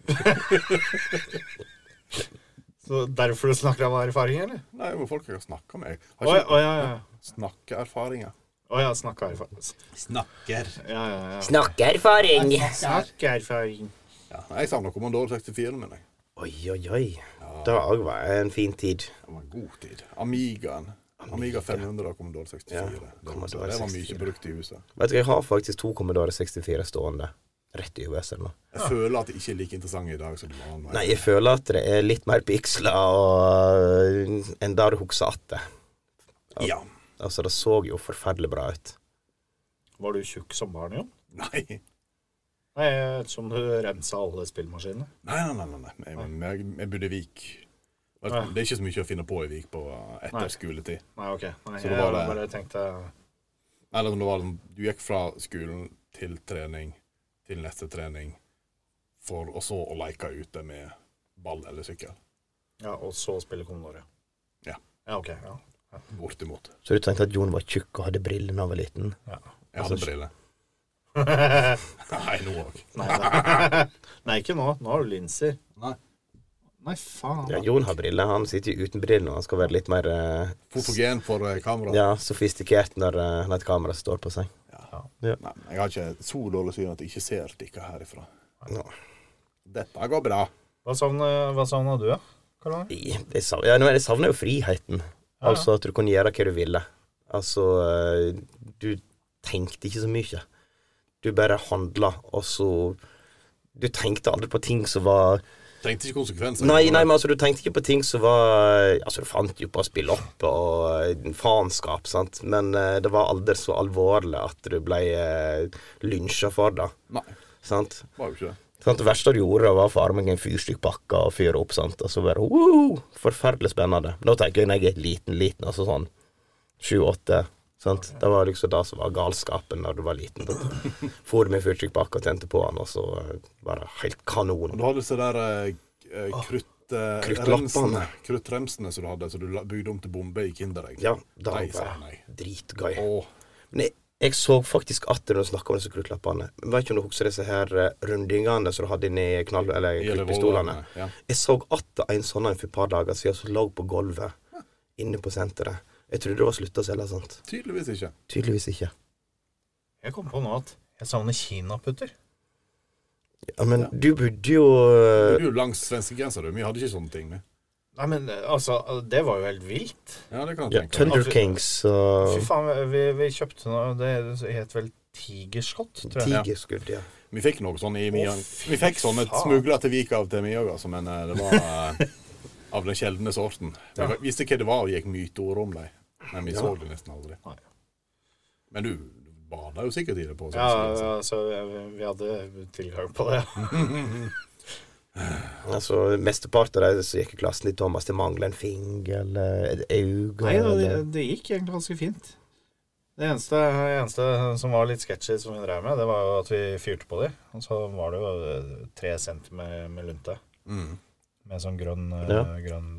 Speaker 3: Så derfor du snakker om erfaring, eller?
Speaker 5: Nei, men folk jeg har snakka med. Jeg
Speaker 3: Å ja,
Speaker 5: har
Speaker 3: å, ja, ja.
Speaker 5: ikke snakkeerfaringer.
Speaker 3: Å ja, snakka erfaring.
Speaker 5: Snakker.
Speaker 3: Ja, ja, ja.
Speaker 4: Snakkerfaring!
Speaker 3: Snakka erfaring.
Speaker 5: Ja, nei, jeg savner Commodore 64-en min. jeg.
Speaker 4: Oi, oi, oi. Det òg var en fin tid.
Speaker 5: Det var en god tid. Amigaen. Amiga 500 og Commodore 64.
Speaker 4: Ja,
Speaker 5: det, var,
Speaker 4: Commodore
Speaker 5: det var
Speaker 4: 64.
Speaker 5: mye brukt i huset.
Speaker 4: Vet du, jeg har faktisk to Commodore 64 stående rett i US-en nå.
Speaker 5: Jeg føler at det ikke er like interessant i dag som det var da.
Speaker 4: Nei, jeg føler at det er litt mer piksla og, øh, enn det du husker at det.
Speaker 5: Ja.
Speaker 4: Altså, det så jo forferdelig bra ut.
Speaker 3: Var du tjukk som barn, Jon?
Speaker 5: Nei.
Speaker 3: Nei, jeg vet ikke om du remsa alle spillmaskinene.
Speaker 5: Nei, nei, nei, nei, nei. Jeg, jeg, jeg bodde i Vik. Det
Speaker 3: Ja.
Speaker 5: er ikke så mye å finne på i Vik på eh,
Speaker 3: Nei.
Speaker 5: etter skoletid.
Speaker 3: Nei, ok. Nei,
Speaker 5: Så
Speaker 3: jeg
Speaker 5: det var
Speaker 3: bare,
Speaker 5: det.
Speaker 3: tenkte
Speaker 5: Eller om det var sånn Du gikk fra skolen til trening, til neste trening, for og så å leke ute med ball eller sykkel.
Speaker 3: Ja, og så spille Commodore.
Speaker 5: Ja.
Speaker 3: Ja, ok. Ja.
Speaker 5: Bortimot.
Speaker 4: Så du tenkte at Jon var tjukk og hadde briller da han var liten?
Speaker 5: Jeg hadde briller. Nei, nå òg.
Speaker 3: Nei, da. Nei, ikke nå. Nå har du linser.
Speaker 5: Nei.
Speaker 3: Nei, faen.
Speaker 4: Ja, Jon har briller. Han sitter jo uten briller når han skal være litt mer eh,
Speaker 5: Fotogen for eh, kamera.
Speaker 4: ja, sofistikert når, eh, når et kamera står på seg.
Speaker 5: Nei, jeg har ikke så dårlig syn at jeg ikke ser dere herifra.
Speaker 4: Nå.
Speaker 5: Dette går bra.
Speaker 3: Hva savner, hva savner du, da? Karl Arne?
Speaker 4: Jeg, jeg, savner, ja, nei, jeg savner jo friheten. Altså at du kunne gjøre hva du ville. Altså eh, Du tenkte ikke så mye. Du bare handla, og så Du tenkte aldri på ting som var
Speaker 5: Tenkte ikke konsekvenser.
Speaker 4: Nei, nei, men altså, du tenkte ikke på ting som var Altså, du fant jo på å spille opp og eh, faenskap, sant, men eh, det var aldri så alvorlig at du ble eh, lynsja for det,
Speaker 5: Nei,
Speaker 4: sant.
Speaker 5: var jo ikke det.
Speaker 4: sant? Det verste du gjorde, var å få armen i en fyrstikkpakke og fyre opp, sant, og så bare wow, forferdelig spennende. Nå tenker jeg når jeg er liten, liten, altså sånn sju-åtte. Sant? Det var liksom det som var galskapen da du var liten. For med fyrstikkpakke og tente på den, og så eh, var det helt kanon.
Speaker 5: Og Du hadde disse der eh, eh, krutt... eh,
Speaker 4: Kruttlappene.
Speaker 5: remsene- Kruttremsene som du hadde, som du la- bygde om til bombe i Kinderegg.
Speaker 4: Ja, det
Speaker 5: Nei,
Speaker 4: var
Speaker 5: sa nei.
Speaker 4: dritgøy.
Speaker 5: Å,
Speaker 4: Men jeg, jeg så faktisk at du snakka om disse kruttlappene. Jeg vet ikke om du husker disse her eh, rundingene som du hadde inni knall... Eller
Speaker 5: Gjelder
Speaker 4: kruttpistolene.
Speaker 5: voldene, ja.
Speaker 4: Jeg så at det er en sånn en for et par dager siden som lå på gulvet inne på senteret. Jeg trodde det var slutta å selge sånt.
Speaker 5: tydeligvis ikke.
Speaker 4: Tydeligvis ikke.
Speaker 3: Jeg kom på nå at jeg savner kinaputter.
Speaker 4: Ja, men du bodde jo
Speaker 5: Du
Speaker 4: eh,
Speaker 5: er jo langs svenskegrensa, du. Vi hadde ikke sånne ting. vi.
Speaker 3: Nei, men eh, altså, det var jo helt vilt.
Speaker 5: Ja, det kan
Speaker 4: ja,
Speaker 5: jeg tenke meg.
Speaker 4: eh, Thunder Kings
Speaker 3: Fy
Speaker 4: og
Speaker 3: faen, vi, vi kjøpte noe Det het vel tigerskott, tror jeg.
Speaker 4: Tigerskudd, ja.
Speaker 5: Vi fikk noe sånn i
Speaker 3: Å,
Speaker 5: Miang.
Speaker 3: fy
Speaker 5: Vi fikk sånne
Speaker 3: faen.
Speaker 5: smugla til Vika av til Miang, altså, men eh, det var eh, av den sjeldne sorten. Vi visste hva det var, og gikk myteord om dem. Men vi så det nesten aldri.
Speaker 3: Nei.
Speaker 5: Men du bada jo sikkert i det på
Speaker 3: Ja,
Speaker 5: svenskegrensa.
Speaker 3: ja, så vi, vi hadde tilgang på det.
Speaker 4: Altså, Mesteparten av de som gikk i klassen til Thomas, det mangler en finger eller et øye
Speaker 3: Nei da, det,
Speaker 4: eller
Speaker 3: det gikk egentlig ganske fint. Det eneste, eneste som var litt sketchy som vi drev med, det var jo at vi fyrte på dem. Og så var det jo eh, tre centimeter med lunte.
Speaker 5: Mm.
Speaker 3: Med sånn grønn, eh,
Speaker 4: Ja.
Speaker 3: grønn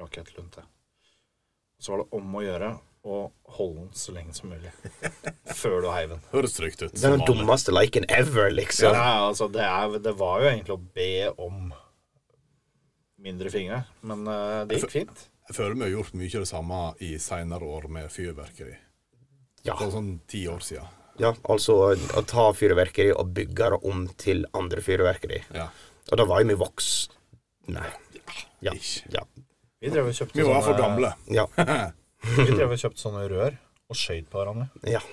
Speaker 3: rakettlunte. Så var det om å gjøre å holde den så lenge som mulig. Før du heiv den.
Speaker 5: Høres trygt ut.
Speaker 4: Det er den
Speaker 5: som vanlig.
Speaker 4: dummeste leken ever,
Speaker 3: Ja,
Speaker 4: liksom.
Speaker 3: altså, det, er, det var jo egentlig å be om mindre fingre, men eh,
Speaker 5: Altså,
Speaker 3: det gikk fint.
Speaker 5: Jeg føler vi har gjort mye det samme i seinere år med fyrverkeri.
Speaker 4: Ja.
Speaker 5: For sånn ti år siden.
Speaker 4: Ja, altså å ta fyrverkeri og bygge det om til andre fyrverkeri.
Speaker 5: Ja.
Speaker 4: Og da var jo vi voksne. Ja.
Speaker 5: Ish.
Speaker 4: Ja.
Speaker 3: Vi drev og kjøpte
Speaker 5: Vi var for
Speaker 3: sånne,
Speaker 5: gamle.
Speaker 4: ja.
Speaker 3: vi drev og kjøpte sånne rør og skøyt på hverandre.
Speaker 4: ja.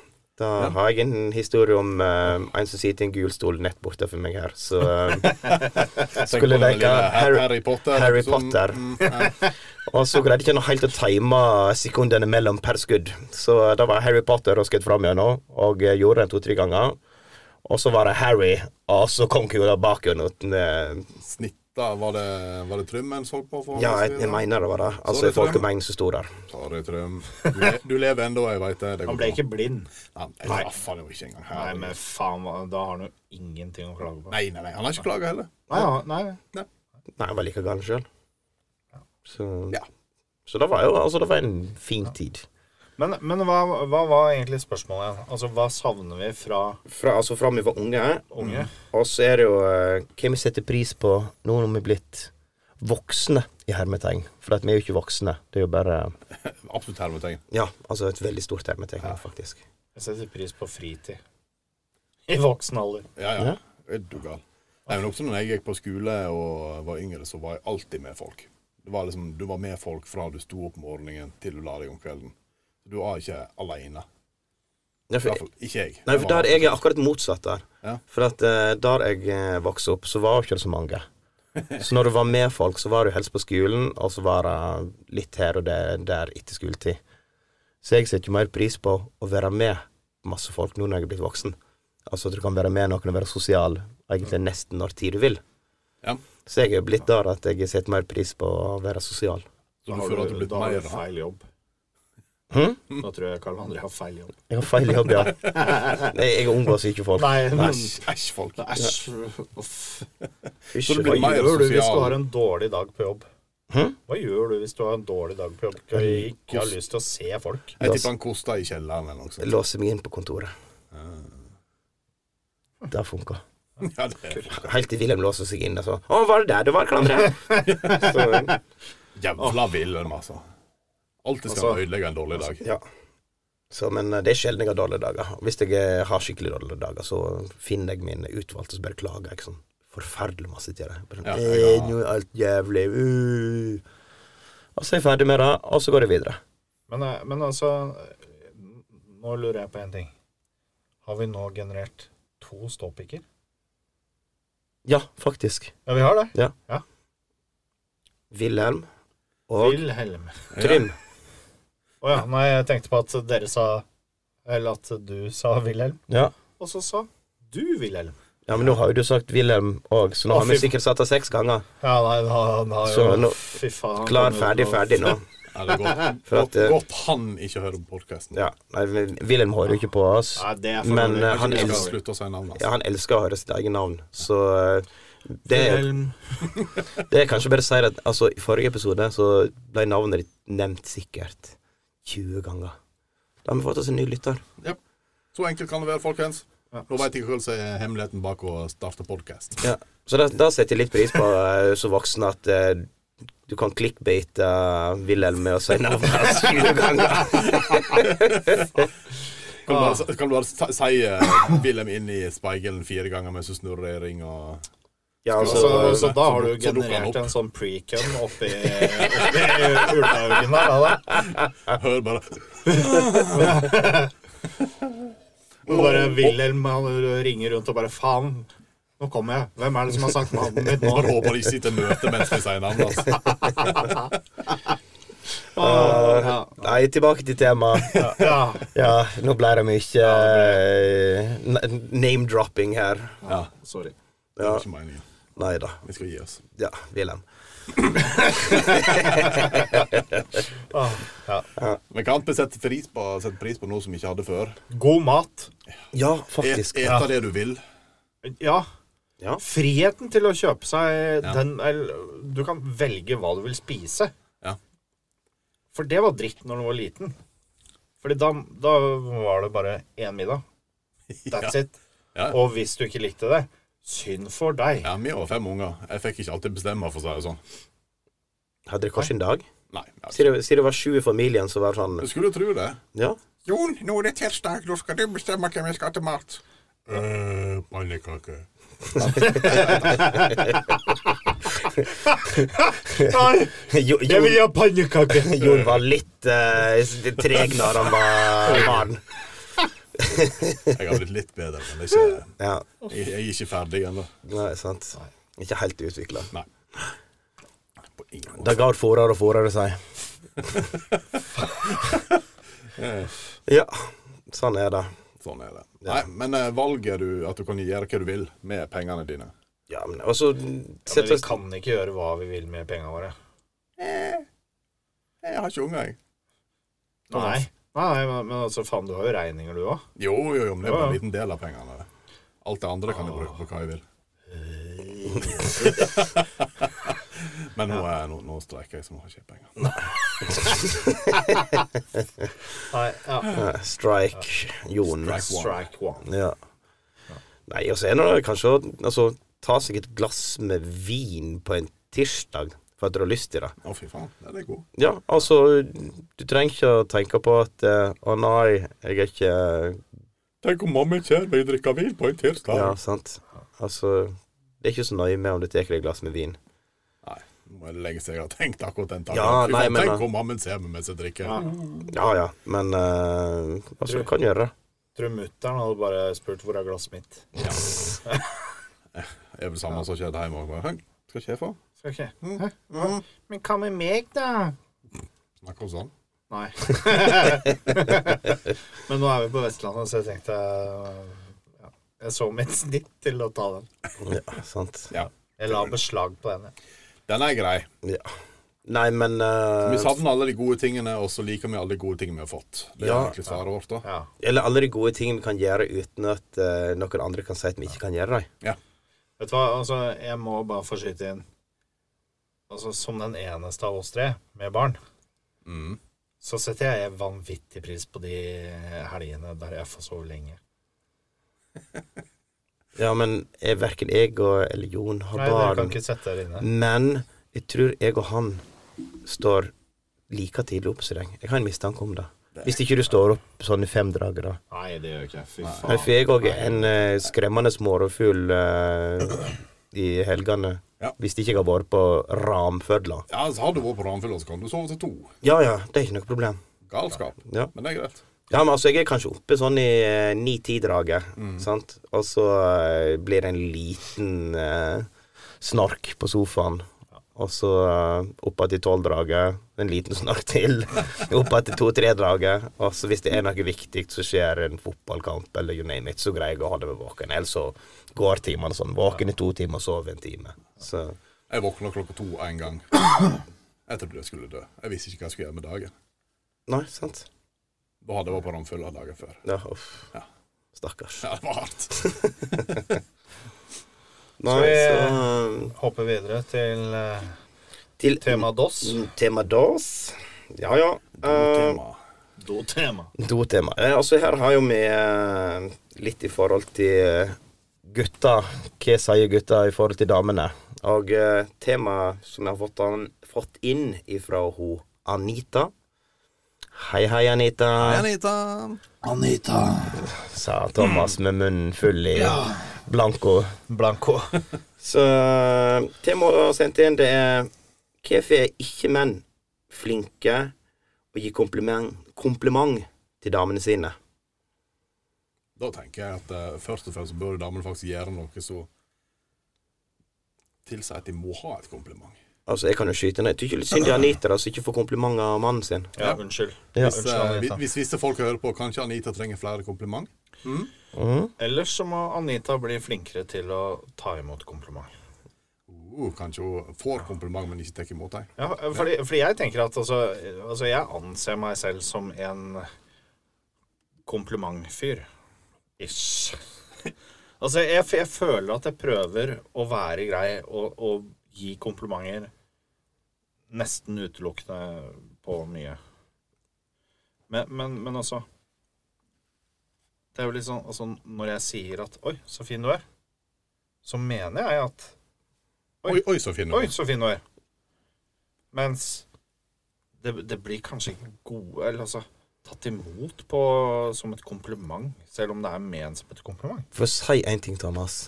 Speaker 4: Da har jeg en historie om eh, en som sitter i en gul stol nett borte for meg her, så eh,
Speaker 5: Tenk
Speaker 4: Skulle
Speaker 5: på den
Speaker 4: leke
Speaker 5: lille
Speaker 4: Harry-
Speaker 5: Harry Potter.
Speaker 4: Harry
Speaker 5: som-
Speaker 4: Potter.
Speaker 5: Mm, ja.
Speaker 4: Og så greide jeg ikke noe helt å time sekundene mellom per skudd. Så eh, da var Harry Potter og skutt fram gjennom, og eh, gjorde det to-tre ganger. Og så var det Harry, og så kom kula bak gjennom. eh,
Speaker 5: Snitta, var det, var det Trymmen som holdt på for?
Speaker 4: Ja, jeg, jeg mener det var det.
Speaker 5: Så
Speaker 4: Altså
Speaker 5: det tror jeg-
Speaker 4: folkemengden som sto der.
Speaker 5: Sorry, Trym. Du, le- du lever ennå, jeg veit det. det går
Speaker 3: Han ble
Speaker 5: bra.
Speaker 3: ikke blind.
Speaker 5: Nei, jeg traff han jo ikke engang. her.
Speaker 3: Nei, men faen, hva- da har han jo ingenting å klage på.
Speaker 5: nei, nei, nei, han har ikke klaga heller.
Speaker 3: Nei, ja, nei.
Speaker 4: Nei, jeg var like gal sjøl. Så,
Speaker 5: Ja.
Speaker 4: så det var jo altså, det var en fin tid.
Speaker 3: Men, men hva, hva var egentlig spørsmålet igjen? Altså, hva savner vi fra
Speaker 4: Fra, altså fra vi var unge,
Speaker 3: unge?
Speaker 4: og så er det jo eh, hva vi setter pris på nå når vi er blitt voksne, i hermetegn. For at vi er jo ikke voksne. Det er jo bare
Speaker 5: Absolutt hermetegn.
Speaker 4: Ja, altså et veldig stort hermetegn, faktisk.
Speaker 3: Jeg setter pris på fritid. I voksen alder.
Speaker 5: Ja, ja. Er du gal. Nei, men også når jeg gikk på skole og var yngre, så var jeg alltid med folk. Det var liksom, Du var med folk fra du sto opp om morgenen til du la deg om kvelden. Du var ikke aleine.
Speaker 4: Ja, for,
Speaker 5: Iallfall ikke jeg.
Speaker 4: nei, for der jeg er akkurat motsatt der.
Speaker 5: Ja.
Speaker 4: For at eh, der jeg eh, vokste opp, så var jo ikke det så mange. Så når du var med folk, så var du helst på skolen, og så var det litt her og der, der etter skoletid. Så jeg setter jo mer pris på å være med masse folk nå når jeg er blitt voksen. Altså at du kan være med noen og være sosial egentlig nesten når tid du vil.
Speaker 5: Ja.
Speaker 4: Så jeg er blitt der at jeg setter mer pris på å være sosial.
Speaker 5: Så
Speaker 3: Da
Speaker 5: du
Speaker 3: har
Speaker 5: føler at du er
Speaker 3: du,
Speaker 5: blitt
Speaker 3: da har du
Speaker 5: mer da?
Speaker 3: feil jobb.
Speaker 5: Hm?
Speaker 3: Nå tror jeg Karl André har feil jobb.
Speaker 4: Jeg har feil jobb, ja. Nei, jeg omgås ikke folk.
Speaker 3: Nei, men
Speaker 5: Æsj, æsj, folk.
Speaker 3: Æsj. uff.
Speaker 4: Ikke
Speaker 5: det blir
Speaker 4: meg.
Speaker 3: Hva
Speaker 5: Mer
Speaker 3: gjør du hvis
Speaker 5: sosial.
Speaker 3: du har en dårlig dag på jobb? Hva gjør du hvis du har en dårlig dag på jobb? Du ikke har lyst til å se folk.
Speaker 5: Jeg tipper han kosta i kjelleren eller noe sånt.
Speaker 4: Låse meg inn på kontoret. Det funka.
Speaker 5: Ja, det
Speaker 4: Helt til Wilhelm låser seg inn og så 'Å, var det der du var, Karl André?' Så,
Speaker 5: Jævla Wilhelm, altså. Alltid skal
Speaker 3: Altså-
Speaker 5: han ødelegge en dårlig dag.
Speaker 4: ja. så, men eh, det er sjelden jeg har dårlige dager. Og Hvis jeg eh, har skikkelig dårlige dager, så finner jeg mine utvalgte som bare klager. Ikke sånn forferdelig masse til det. Bare sånn,
Speaker 5: Ja,
Speaker 4: «Eh,
Speaker 5: ja.
Speaker 4: 'Nå er alt jævlig uh. Og så er jeg ferdig med det, og så går jeg videre.
Speaker 3: Men, eh, men altså eh, Nå lurer jeg på en ting. Har vi nå generert to ståpikker?
Speaker 4: Ja, faktisk.
Speaker 3: Ja, vi har det.
Speaker 4: Wilhelm og
Speaker 3: Wilhelm.
Speaker 4: Trym.
Speaker 3: Å ja. Nei, jeg tenkte på at dere sa Eller at du sa Wilhelm.
Speaker 4: Ja.
Speaker 3: Og så sa du Wilhelm.
Speaker 4: ja, men nå har jo du sagt Wilhelm òg, så nå
Speaker 3: Å,
Speaker 4: har vi
Speaker 3: fy-
Speaker 4: sikkert satt det seks ganger.
Speaker 3: Ja, nei, da, da, jo,
Speaker 4: Så nå-
Speaker 3: Fy faen.
Speaker 4: Klar,
Speaker 3: Nå-
Speaker 4: ferdig,
Speaker 3: nå-
Speaker 4: ferdig nå.
Speaker 5: Ja, det er godt.
Speaker 4: For at, eh,
Speaker 5: Godt han ikke hører på podkasten.
Speaker 4: Ja, nei, men Wilhelm hører jo ikke på oss.
Speaker 3: Nei, det er for
Speaker 4: Men
Speaker 3: dårlig.
Speaker 4: eh, han,
Speaker 5: Jeg skal
Speaker 4: elsker,
Speaker 5: slutte å si navnet altså.
Speaker 4: ja,
Speaker 5: hans.
Speaker 4: han elsker å høre sitt eget navn, så eh, det, er-
Speaker 3: Wilhelm.
Speaker 4: det er kanskje bare å si at altså, i forrige episode så ble navnet ditt nevnt sikkert 20 ganger. Da har vi fått oss en ny lytter.
Speaker 5: Ja. Så enkelt kan det være, folkens.
Speaker 3: Ja.
Speaker 5: Nå veit jeg hva som er hemmeligheten bak å starte podkast.
Speaker 4: Ja. Så da, da setter jeg litt pris på eh, som voksen at eh, du kan clickbate eh, Wilhelm med å si navnet hans 20 ganger.
Speaker 5: Kan du bare, kan du bare si- si eh, Wilhelm inn i speilet fire ganger mens du snurrer i ring og
Speaker 4: Ja,
Speaker 3: Så, så,
Speaker 4: altså,
Speaker 3: da har du
Speaker 5: så dukker han
Speaker 3: generert
Speaker 5: opp.
Speaker 3: en sånn precum oppi, oppi ulvehaugen der, da.
Speaker 5: hører bare Mm.
Speaker 3: Og bare Wilhelm han ringer rundt og bare Faen, nå kommer jeg. Hvem er det som har sagt navnet mitt
Speaker 5: Bare
Speaker 3: nå?
Speaker 5: håper de sitter i møte mens vi sier navnet altså. hans.
Speaker 3: Åh, ja.
Speaker 4: Nei, tilbake til temaet.
Speaker 3: ja.
Speaker 4: Ja, nå ble det mye eh, n- name-dropping her.
Speaker 5: Ja,
Speaker 3: Sorry.
Speaker 5: det var ikke meningen.
Speaker 4: Nei da.
Speaker 5: Vi skal gi oss.
Speaker 4: Ja, Wilhelm.
Speaker 3: Åh, ja.
Speaker 5: Men kan vi sette pris på, sette pris på noe som vi ikke hadde før?
Speaker 3: God mat.
Speaker 4: Ja,
Speaker 5: Et,
Speaker 4: faktisk.
Speaker 5: eta det du vil.
Speaker 3: Ja.
Speaker 4: Ja.
Speaker 3: Friheten til å kjøpe seg
Speaker 5: Ja.
Speaker 3: den eller, Du kan velge hva du vil spise.
Speaker 5: Ja.
Speaker 3: For det var dritt når du var liten. Fordi da, da var det bare én middag. That's it.
Speaker 5: Ja.
Speaker 3: Og hvis du ikke likte det, synd for deg.
Speaker 5: Ja, vi var fem unger. Jeg fikk ikke alltid bestemme, for å si det sånn.
Speaker 4: Hadde dere kanskje en dag?
Speaker 5: Nei. Ja.
Speaker 4: Siden det, si det var sju i familien, så var det sånn
Speaker 5: Du skulle tro det.
Speaker 4: Ja.
Speaker 5: Jon, nå er det tirsdag. Nå skal du bestemme hvem jeg skal til mat. Eh, Pannekake.
Speaker 3: Nei,
Speaker 4: Jo,
Speaker 3: jeg vil
Speaker 4: Jon,
Speaker 3: ha pannekaker!
Speaker 4: Jon var litt eh, treg når han var barn.
Speaker 5: Jeg har blitt litt bedre, men det er ikke,
Speaker 4: Ja,
Speaker 5: jeg, jeg er ikke ferdig ennå.
Speaker 4: nei, sant. Ikke helt utvikla.
Speaker 5: Nei. På ingen måte.
Speaker 4: Det går fortere og fortere seg. ja, sånn er det.
Speaker 5: Sånn er det. Nei, men eh, valget du at du kan gjøre hva du vil med pengene dine.
Speaker 4: Ja, men og så
Speaker 3: Men
Speaker 4: setter
Speaker 3: vi kan ikke gjøre hva vi vil med pengene våre.
Speaker 5: Eh, Jeg har ikke unger, jeg.
Speaker 3: Nei, nei, men, men altså, faen, du har jo regninger, du òg.
Speaker 5: Jo, jo, jo, men det er
Speaker 3: Ja,
Speaker 5: bare
Speaker 3: ja.
Speaker 5: en liten del av pengene. Alt det andre kan jeg bruke på hva jeg vil. Eh. Men nå, er, nå, nå streiker jeg, så nå har jeg ikke penger.
Speaker 3: Ja.
Speaker 4: Eh, Strike Jon.
Speaker 3: Strike one.
Speaker 4: Ja. Nei, og så er det noe- kanskje å altså, ta seg et glass med vin på en tirsdag for at du har lyst til det.
Speaker 5: Å, fy faen. Den er god.
Speaker 4: Ja, altså, du trenger ikke å tenke på at eh, Å nei, jeg er ikke
Speaker 5: Tenk om mamma ikke vil drikke vin på en tirsdag.
Speaker 4: Ja, sant. Altså, det er ikke så nøye med om du tar deg et glass med vin.
Speaker 5: Nei, nå må jeg legge seg. Jeg har tenkt akkurat den tanken.
Speaker 4: Ja,
Speaker 5: Fy
Speaker 4: nei,
Speaker 5: faen,
Speaker 4: men-
Speaker 5: tenk om mammen ser meg mens jeg drikker.
Speaker 4: Ja ja, men eh, altså, du kan gjøre det.
Speaker 3: Tror mutter'n hadde bare spurt hvor er glasset mitt.
Speaker 5: Det er vel samme som skjedde hjemme òg. Skal ikke jeg få?
Speaker 3: Skal ikke Hæ? Hva? Men hva med meg, da?
Speaker 5: Snakker om sånn.
Speaker 3: Nei. Men nå er vi på Vestlandet, så jeg tenkte ja, Jeg så mitt snitt til å ta den.
Speaker 4: Ja, sant.
Speaker 5: Ja.
Speaker 3: Jeg la beslag på den. jeg.
Speaker 5: Den er grei.
Speaker 4: Ja. Nei, men eh,
Speaker 5: Vi savner alle de gode tingene, og så liker vi alle de gode tingene vi har fått. Det er
Speaker 4: Ja.
Speaker 5: egentlig svaret vårt, da.
Speaker 3: Ja.
Speaker 4: eh, Eller alle de gode tingene vi kan gjøre uten at eh, noen andre kan si at vi ikke kan gjøre dem.
Speaker 5: Ja.
Speaker 3: Vet du hva, altså, jeg må bare få skyte inn Altså, som den eneste av oss tre med barn,
Speaker 5: Mm.
Speaker 3: så setter jeg vanvittig pris på de helgene der jeg får sove lenge.
Speaker 4: Ja, men jeg, verken jeg og eller Jon har
Speaker 3: Nei, dere kan
Speaker 4: barn.
Speaker 3: ikke sette dere inne.
Speaker 4: Men jeg tror jeg og han står like tidlig opp som deg. Jeg har en mistanke om det. Hvis ikke du står opp sånn i fem drager, da.
Speaker 3: Nei, det gjør jeg ikke. Fy
Speaker 4: Nei, for
Speaker 3: faen.
Speaker 4: jeg òg er en eh, skremmende smårovfugl eh, i helgene.
Speaker 5: Ja.
Speaker 4: Hvis ikke jeg har vært på ramfødla.
Speaker 5: ja, så har du vært på Ranfjell, så kan du sove til to.
Speaker 4: Ja ja, det er ikke noe problem.
Speaker 5: Galskap.
Speaker 4: Ja.
Speaker 5: Men det er greit.
Speaker 4: Ja, men altså, jeg er kanskje oppe sånn i eh, ni-ti-draget,
Speaker 5: Mm.
Speaker 4: sant? Og så eh, blir det en liten eh, snork på sofaen. Og så eh, opp igjen til tolv-draget, en liten snork til. opp igjen til to-tre-draget. Og så hvis det er noe viktig som skjer, en fotballkamp eller you name it, så greier jeg å holde meg våken. Ellers så går timene sånn. Våken i to timer, sove en time. Så
Speaker 5: Jeg våkna klokka to en gang. Jeg trodde jeg skulle dø. Jeg visste ikke hva jeg skulle gjøre med dagen.
Speaker 4: Nei, sant?
Speaker 5: Da hadde jeg vært på Ramfjella dagen før.
Speaker 4: Ja, uff.
Speaker 5: Ja.
Speaker 4: Stakkars.
Speaker 5: Ja, det var hardt.
Speaker 4: Nei, så eh,
Speaker 3: Hoppe videre til eh,
Speaker 4: til
Speaker 3: tema DOS.
Speaker 4: Mm, Tema DOS. Ja, ja. Eh,
Speaker 5: Tema.
Speaker 3: Do-tema.
Speaker 4: Dotema. Eh, altså, her har jo vi eh, litt i forhold til eh, gutta. Hva sier gutta i forhold til damene? Og eh, temaet som jeg har fått, an, fått inn ifra ho Anita Hei, hei, Anita,
Speaker 5: Anita.
Speaker 4: sa Thomas med munnen full i blanco.
Speaker 3: Blanco.
Speaker 4: Så temaet jeg har sendt inn, det er Hvorfor er ikke menn flinke å gi kompliment, kompliment til damene sine?
Speaker 5: Da tenker jeg at eh, først og fremst så burde damene faktisk gjøre noe som tilsier at de må ha et kompliment.
Speaker 4: Altså, jeg kan jo skyte ned. Tykker litt synd i Anita da, som ikke får komplimenter av mannen sin.
Speaker 3: Ja, unnskyld.
Speaker 4: Ja.
Speaker 5: Hvis,
Speaker 3: unnskyld,
Speaker 5: eh,
Speaker 3: Anita.
Speaker 5: hvis- hvis visse folk hører på, kanskje Anita trenger flere kompliment?
Speaker 3: Ellers så må Anita bli flinkere til å ta imot kompliment.
Speaker 5: Uh, kanskje hun får kompliment, men ikke tar imot dem?
Speaker 3: Ja, fordi, fordi jeg tenker at altså, altså Jeg anser meg selv som en komplimentfyr. Ish. Altså, jeg, jeg føler at jeg prøver å være grei og, og gi komplimenter nesten utelukkende på mye. Men, men, men altså Det er jo litt sånn altså, Når jeg sier at 'oi, så fin du er', så mener jeg at Oi.
Speaker 5: Oi, oi, så fin hun
Speaker 3: Oi,
Speaker 5: er.
Speaker 3: så fin du er. Mens det, det blir kanskje ikke gode Eller altså tatt imot på, som et kompliment, selv om det er ment som et kompliment.
Speaker 4: For å si en ting, Thomas.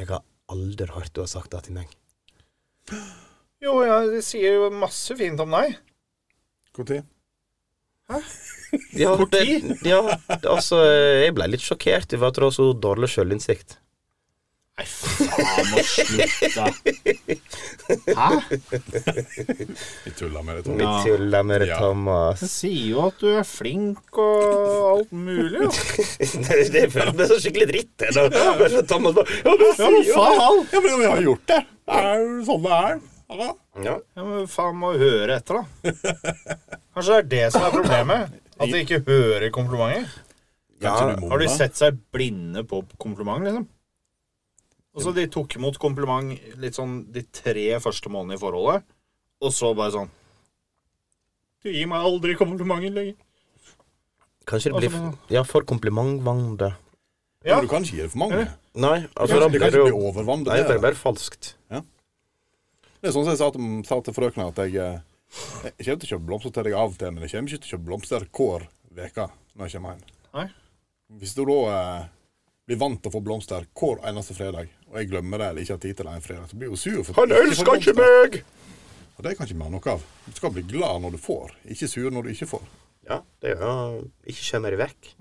Speaker 4: Jeg har aldri hørt du har sagt det til meg.
Speaker 3: Jo, jeg sier jo masse fint om deg.
Speaker 5: Når?
Speaker 4: Ja, det, ja, det- altså, jeg ble litt sjokkert over at du har så dårlig selvinnsikt.
Speaker 3: Nei, faen, må slutte. Hæ?
Speaker 5: Vi tuller med det.
Speaker 4: Vi
Speaker 5: Tom.
Speaker 3: Ja.
Speaker 4: tuller med det,
Speaker 5: Ja.
Speaker 4: Thomas.
Speaker 3: Jeg sier jo at du er flink og alt mulig, jo.
Speaker 4: det det føles meg så skikkelig dritt. jeg, da. Bare sånn, Thomas bare Ja, men
Speaker 3: Ja, men
Speaker 4: sier jo det.
Speaker 3: faen!
Speaker 5: Ja, men vi har gjort det. Det er jo sånn det er. Ja.
Speaker 4: Ja.
Speaker 3: Ja, men faen må høre etter, da. Kanskje det er det som er problemet? At de ikke hører komplimenter?
Speaker 5: Kanskje du
Speaker 3: Har de
Speaker 5: mumler?
Speaker 3: sett seg blinde på kompliment, liksom? Og så de tok imot kompliment litt sånn de tre første månedene i forholdet, og så bare sånn Du gir meg aldri komplimenter lenger.
Speaker 4: Kanskje det blir Ja, for komplimentvandre.
Speaker 5: Ja,
Speaker 3: Ja,
Speaker 5: men Du kan ikke gi det for mange.
Speaker 4: Nei, altså da
Speaker 5: Kanskje, det
Speaker 4: blir
Speaker 5: kan
Speaker 4: det
Speaker 5: ikke bli
Speaker 4: jo
Speaker 5: overvann.
Speaker 4: Nei, det blir
Speaker 5: Det,
Speaker 4: bare falskt.
Speaker 5: det er sånn som jeg sa til, sa til frøkna, at jeg, eh, jeg kommer til å kjøpe blomster til deg av og til, men jeg kommer ikke til å kjøpe blomster hver uke når jeg kommer hjem.
Speaker 3: Nei.
Speaker 5: Hvis du da eh, blir vant til å få blomster hver eneste fredag, og jeg glemmer det eller ikke har tid til det en fredag, så blir hun sur. For at du får blomster.
Speaker 4: meg!
Speaker 5: Og Det kan ikke vi ha noe av. Du skal bli glad når du får, ikke sur når du ikke får.
Speaker 4: Ja, det er jo Ikke skjemmer det vekk.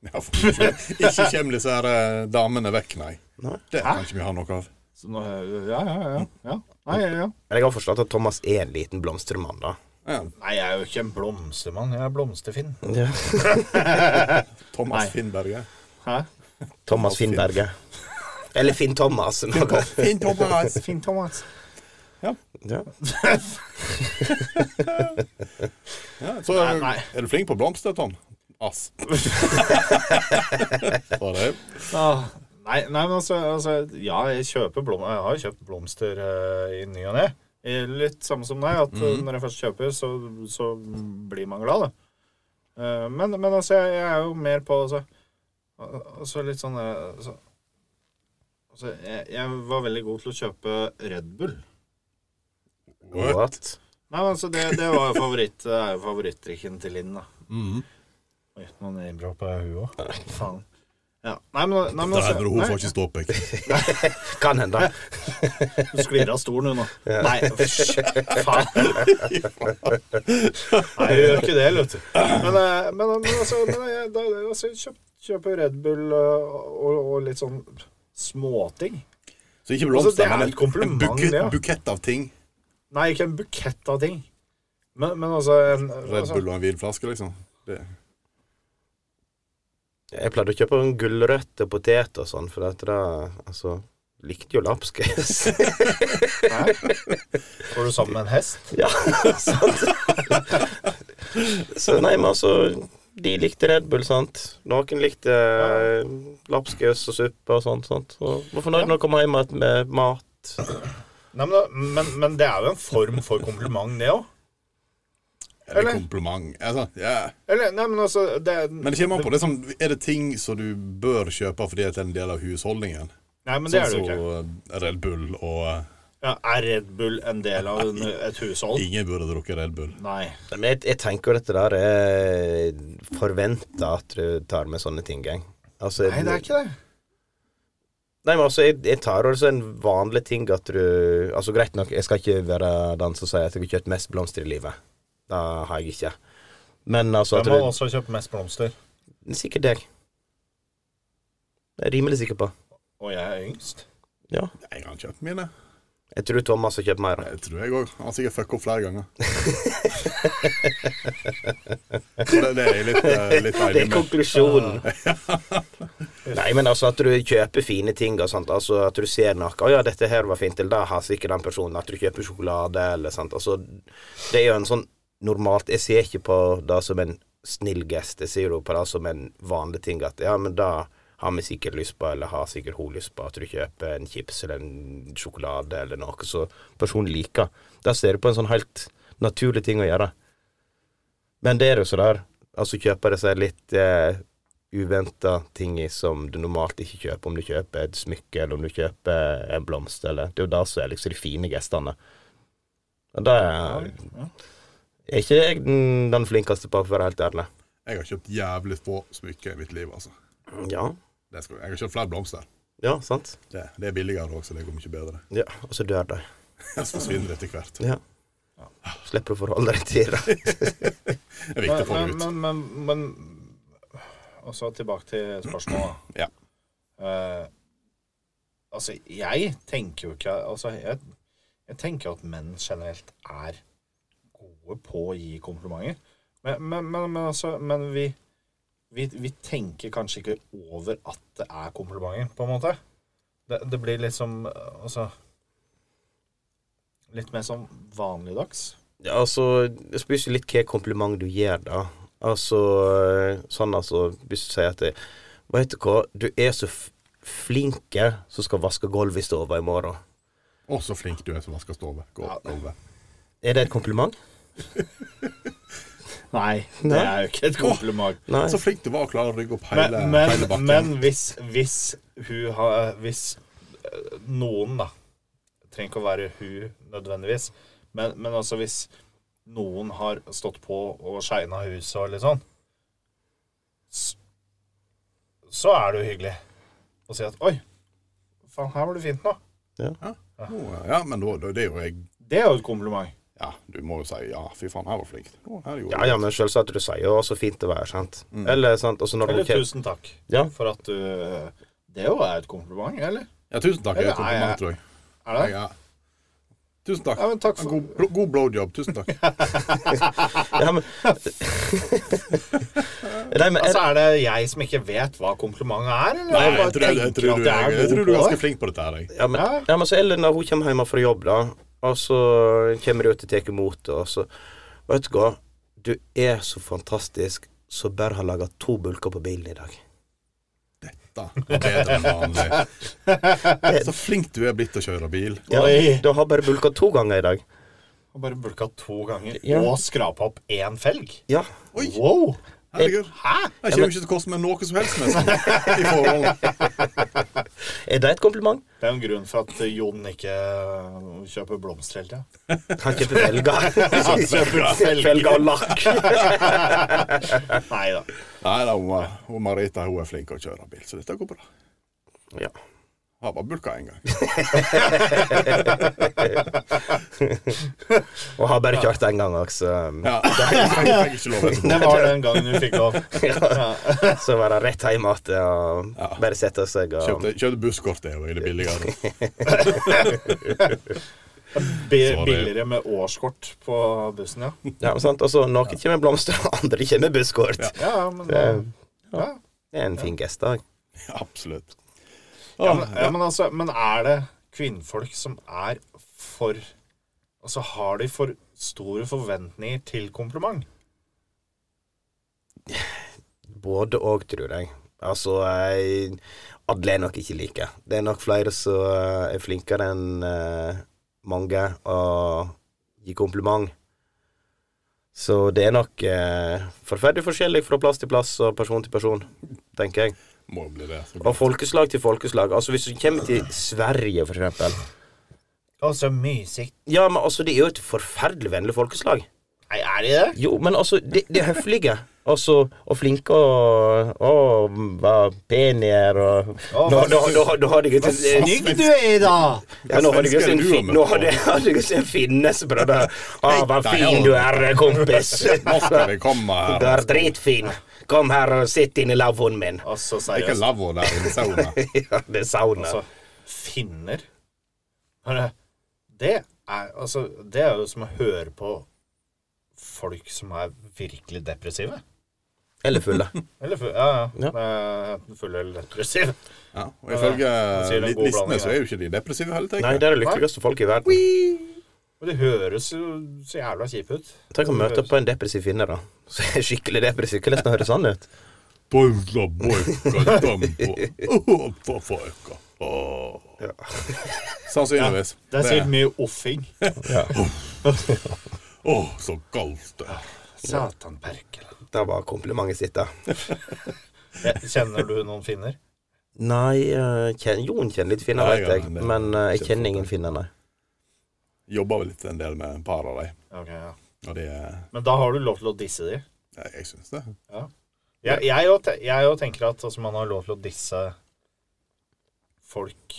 Speaker 5: Ja, for ikke, ikke kommer disse her eh, damene vekk, nei.
Speaker 4: Nei.
Speaker 5: Det kan ikke vi ha noe av.
Speaker 3: så nå, ja, ja, ja, ja. Nei, ja, ja.
Speaker 4: Men jeg har forstått at Thomas er en liten blomstermann, da.
Speaker 5: Ja,
Speaker 3: Nei, jeg er jo ikke en blomstermann. Jeg er blomsterfinn.
Speaker 5: Thomas
Speaker 3: Nei.
Speaker 5: Finnberget.
Speaker 3: Hæ?
Speaker 4: Thomas Finnberget. Eller Finn Thomas. men-
Speaker 5: Finn Thomas!
Speaker 3: Finn Thomas.
Speaker 5: Ja.
Speaker 4: Ja.
Speaker 5: Ja, så
Speaker 3: Nei, nei.
Speaker 5: Er du flink på blomster, Tom? Ass. Var det?
Speaker 3: Ah, Nei, nei, men altså, altså Ja, jeg kjøper blom, Jeg har jo kjøpt blomster eh, i ny og ne. Eh, Litt samme som deg, at
Speaker 5: Mhm.
Speaker 3: eh, når jeg først kjøper, så, så blir man glad, da. Eh, Men, men altså, jeg, jeg er jo mer på altså, al- altså litt sånn eh, altså, altså, jeg, jeg var veldig god til å kjøpe Red Bull.
Speaker 4: What?
Speaker 3: Nei, men altså, det, det var jo favoritt, det er jo favorittdrikken til Linn, da.
Speaker 5: Mhm.
Speaker 3: Oi, nå name-droppa jeg hun òg. Faen. Ja. Nei, men, nei, men
Speaker 5: Det
Speaker 3: altså,
Speaker 5: er når hun
Speaker 3: nei.
Speaker 5: får ikke ståpikk.
Speaker 4: Kan hende.
Speaker 3: Du sklir av stolen, hun nå. Nei, fysj, faen. Nei, hun gjør ikke det, vet du. Men, eh, men, men altså, men jeg, da, altså jeg kjøp, kjøper Red Bull eh, og, og litt sånn småting.
Speaker 5: Så ikke
Speaker 3: Altså, det
Speaker 5: blomster,
Speaker 3: er
Speaker 5: men
Speaker 3: et kompliment,
Speaker 5: en bukett,
Speaker 3: det, ja.
Speaker 5: bukett av ting.
Speaker 3: Nei, ikke en bukett av ting. Men, men altså, en,
Speaker 5: Red
Speaker 3: altså
Speaker 5: Bull og en hvit flaske, liksom. Det.
Speaker 4: Jeg pleide å kjøpe en gulrøtt og potet og sånn, for dette da Altså, likte jo lapskaus.
Speaker 3: Går du sammen med en hest?
Speaker 4: ja, sant? Så nei, men altså De likte Red Bull, sant? Noen likte eh, lapskaus og suppe og sånt. sant? Og var fornøyd når de kom hjem med- med mat.
Speaker 3: Nei, men, da- men, men det er jo en form for kompliment, det òg.
Speaker 5: Er det
Speaker 3: Eller?
Speaker 5: kompliment? Altså, ja.
Speaker 3: Eller, nei, men altså det,
Speaker 5: Men det kommer an på. Det er, sånn, er det ting som du bør kjøpe fordi det er en del av husholdningen?
Speaker 3: Nei, men det
Speaker 5: Sånn
Speaker 3: er det jo
Speaker 5: som
Speaker 3: ikke.
Speaker 5: eh, Red Bull, og eh,
Speaker 3: Ja, er Red Bull en del av en, et hushold?
Speaker 5: ingen burde drukke Red Bull.
Speaker 3: Nei.
Speaker 4: Nei, Men jeg, jeg tenker jo dette der er forventa at du tar med sånne ting, gang. Altså,
Speaker 3: Nei, det er ikke det.
Speaker 4: Nei, men altså, jeg, jeg tar altså en vanlig ting at du Altså, greit nok, jeg skal ikke være den som sier at jeg har kjøpt mest blomster i livet. Det har jeg ikke. Men altså at
Speaker 3: Hvem
Speaker 4: du,
Speaker 3: har også kjøpt mest blomster?
Speaker 4: Sikkert deg. Det er jeg rimelig sikker på.
Speaker 3: Og jeg er yngst.
Speaker 4: Ja.
Speaker 5: Jeg har kjøpt mine.
Speaker 4: Jeg tror Thomas har kjøpt mer.
Speaker 5: Jeg tror jeg òg. Han har sikkert fucka opp flere ganger. Så det, det er jeg litt, eh, litt
Speaker 4: Det
Speaker 5: deilig
Speaker 4: er
Speaker 5: med.
Speaker 4: konklusjonen. Nei, men altså at du kjøper fine ting og sånt. Altså at du ser noe 'Å ja, dette her var fint til deg', har sikkert den personen. At du kjøper sjokolade eller sånt. Altså, det er jo en sånn normalt Jeg ser ikke på det som en snill gest. Jeg ser jo på det som en vanlig ting at ja, men da har vi sikkert lyst på, eller har sikkert hun lyst på, at du kjøper en chips eller en sjokolade eller noe som personen liker. Da ser du på en sånn helt naturlig ting å gjøre. Men det er jo så der. Altså kjøper det seg litt eh, uventa ting i som du normalt ikke kjøper. Om du kjøper et smykke, eller om du kjøper en blomst, eller Det er jo det som er liksom de fine gestene. Og da er, er ikke jeg den, den flinkeste på, for å være helt ærlig.
Speaker 5: Jeg har kjøpt jævlig få smykker i mitt liv, altså.
Speaker 4: Ja.
Speaker 5: Det skal, jeg har kjøpt flere blomster.
Speaker 4: Ja, sant?
Speaker 5: Det, det er billigere òg, så det går mye bedre.
Speaker 4: Ja, og så dør de.
Speaker 5: Jeg forsvinner etter hvert.
Speaker 4: Ja. Slipper å forholde deg til det.
Speaker 5: Det er
Speaker 3: Men,
Speaker 5: viktig å få det ut.
Speaker 3: men, men, men, men også tilbake til spørsmålet.
Speaker 5: Ja.
Speaker 3: Eh, altså, jeg tenker jo ikke Altså, jeg, jeg tenker at menn generelt er gode på å gi komplimenter. Men, men, men, men altså Men vi, vi, vi tenker kanskje ikke over at det er komplimenter, på en måte. Det, det blir liksom eh, Altså Litt mer sånn vanligdags.
Speaker 4: Ja, altså, det spørs jo litt hva kompliment du gir, da. Altså, øh, sånn altså, hvis du sier at det, Vet du hva, du er så f- flinke som skal vaske gulvet i stua i morgen.
Speaker 5: Å, så flink du er til å vaske stove. Gå over.
Speaker 4: Er det et kompliment?
Speaker 3: Nei, det er jo ikke et kompliment.
Speaker 4: Nei.
Speaker 5: Så flink du var å klare å rygge opp hele,
Speaker 3: Men, men,
Speaker 5: hele eh, bakken.
Speaker 3: men hvis, hvis hun har Hvis eh, noen, da Trenger ikke å være hun nødvendigvis, men, men altså hvis noen har stått på og shina huset og litt sånn, s- så er det jo hyggelig å si at Oi, faen, her var det fint nå.
Speaker 5: Å, ja, men da, da, det er jo jeg
Speaker 3: Det er jo et kompliment.
Speaker 5: Ja, du må jo si ja, fy faen, her var flink. Å, her gjorde
Speaker 4: Ja, ja, men selvsagt du sier jo 'så fint det var', sant? Eller sant, og så når du
Speaker 3: Mm. Eller
Speaker 4: kje-
Speaker 3: tusen takk
Speaker 4: Ja.
Speaker 3: for at du eh, Det er jo er et kompliment, eller?
Speaker 5: Ja, tusen takk. Det er et
Speaker 3: Ja, ja, ja.
Speaker 5: kompliment, tror jeg.
Speaker 3: Er det?
Speaker 5: Ja. Tusen takk.
Speaker 3: Ja, men takk for-
Speaker 5: god, bl- god blowjob. Tusen takk.
Speaker 4: Ja, men Nei, men
Speaker 3: Altså, Er det jeg som ikke vet hva komplimentet er? Eller?
Speaker 5: Nei,
Speaker 3: Jeg bare
Speaker 5: jeg tror, jeg,
Speaker 3: tenker
Speaker 5: tror,
Speaker 3: at
Speaker 5: du,
Speaker 3: jeg er
Speaker 5: jeg, jeg
Speaker 3: god
Speaker 5: tror du er
Speaker 3: på det.
Speaker 5: ganske flink på dette her, jeg.
Speaker 4: Ja, men,
Speaker 3: Ja.
Speaker 4: ja, men så Ellen, når hun kommer hjemme fra jobb, da Og så kommer de og tar imot det, og så Vet du hva, du er så fantastisk som bare har laga to bulker på bilen i dag.
Speaker 5: Dette var bedre enn vanlig. Så flink du er blitt til å kjøre bil.
Speaker 4: Ja,
Speaker 3: Oi.
Speaker 4: Du har bare bulka to ganger i dag.
Speaker 3: Og bare bulka to ganger,
Speaker 4: Ja.
Speaker 3: og skrapa opp én felg.
Speaker 4: Ja.
Speaker 5: Oi.
Speaker 3: Wow!
Speaker 5: Herregud.
Speaker 3: Hæ?
Speaker 5: Jeg kommer ikke til å koste meg noe som helst nesten i forhold.
Speaker 4: Er det et kompliment?
Speaker 3: Det er jo en grunn for at Jon ikke kjøper blomster hele tida.
Speaker 4: Han kjøper felger.
Speaker 3: Han kjøper
Speaker 4: Felger og lakk.
Speaker 3: Nei da.
Speaker 5: Nei da, hun, er- hun Marita hun er flink til å kjøre bil, så dette går bra.
Speaker 4: Ja.
Speaker 5: Har bare bulka én gang.
Speaker 4: Og har bare kjørt én gang um, òg, så,
Speaker 5: Ja, jeg fikk ikke lov etterpå.
Speaker 3: Det var den gangen du fikk lov.
Speaker 4: så var det rett hjem igjen og
Speaker 5: Ja.
Speaker 4: bare sette seg og
Speaker 5: Kjøpte, kjøpte busskort, det var det billigere.
Speaker 3: Bi
Speaker 5: Så var det-
Speaker 3: billigere med årskort på bussen, ja.
Speaker 4: Ja, sant? Og så noen kommer med blomster, og andre kommer med busskort.
Speaker 3: Ja, men,
Speaker 4: Det,
Speaker 3: ja.
Speaker 4: det er en fin gest, da.
Speaker 5: Absolutt.
Speaker 3: Ja, men, ja, men, altså, men er det kvinnfolk som er for Altså har de for store forventninger til kompliment?
Speaker 4: Både òg, tror jeg. Altså, eh, alle er nok ikke like. Det er nok flere som eh, er flinkere enn eh, mange å gi kompliment. Så det er nok eh, forferdelig forskjellig fra plass til plass og person til person, tenker jeg.
Speaker 5: Må jo bli det. så
Speaker 4: Og
Speaker 5: klart.
Speaker 4: folkeslag til folkeslag. Altså, hvis du kommer til Sverige, for eksempel
Speaker 3: Altså, mysigt.
Speaker 4: Ja, men altså, det er jo et forferdelig vennlig folkeslag.
Speaker 3: Nei, er de det?
Speaker 4: Jo, men altså, de, de er høflige. Altså, og flinke og, og var penier og
Speaker 3: Å,
Speaker 4: Nå
Speaker 3: hva-
Speaker 4: nå- nå- nå har jeg ikke
Speaker 3: Snygg du er i dag!
Speaker 4: ja, Nå har jeg ikke en
Speaker 5: Svensker du har
Speaker 4: fin-
Speaker 5: møtt
Speaker 4: nå
Speaker 5: på.
Speaker 4: har jeg- har jeg ikke en finne som prøvde Å, Ah, hva
Speaker 5: Nei,
Speaker 4: fin
Speaker 5: ja.
Speaker 4: du er, kompis.
Speaker 5: Nå skal vi komme her.
Speaker 4: Du er dritfin. Kom her og sitt inni lavvoen min.
Speaker 3: Altså,
Speaker 5: Det er ikke
Speaker 3: seriøst.
Speaker 5: lavvo der inne i sauna.
Speaker 4: Ja, det er sauna.
Speaker 3: Altså, finner Bare, det er, altså, det er jo som å høre på folk som er virkelig depressive.
Speaker 4: Eller fulle.
Speaker 3: Eller fu- ja,
Speaker 4: Ja.
Speaker 3: ja. Eh, Enten fulle eller depressive.
Speaker 5: Ja, og ifølge
Speaker 3: Han sier det er en god
Speaker 5: listene
Speaker 3: blanding,
Speaker 5: så er jo ikke de depressive heller, tenker
Speaker 4: Nei,
Speaker 5: jeg.
Speaker 4: det er det lykkeligste folk i verden.
Speaker 3: Og de høres jo så jævla kjipe ut.
Speaker 4: Tenk å møte på en depressiv finne, da. Så er jeg skikkelig depressiv. Hvordan høres sånn ut?
Speaker 5: Boika, boika, dampa. Åh, for faika. Åh. Sannsynligvis.
Speaker 3: Det er sikkert mye offing.
Speaker 5: Åh, så galt det er.
Speaker 3: Satan perkele.
Speaker 4: Det var komplimentet sitt, da.
Speaker 3: Kjenner du noen finner?
Speaker 4: Nei, eh, kjen, Jon kjenner litt finner,
Speaker 5: Ja,
Speaker 4: vet
Speaker 5: jeg
Speaker 4: jeg.
Speaker 5: har en del.
Speaker 4: Men eh, jeg kjenner ingen finner, nei.
Speaker 5: Jobber vel litt en del med en par av dem,
Speaker 3: Ok, ja.
Speaker 5: og det er
Speaker 3: Men da har du lov til å disse de.
Speaker 5: Nei, Jeg syns det.
Speaker 3: Jeg- Jeg jo te- jeg jo tenker at altså, man har lov til å disse folk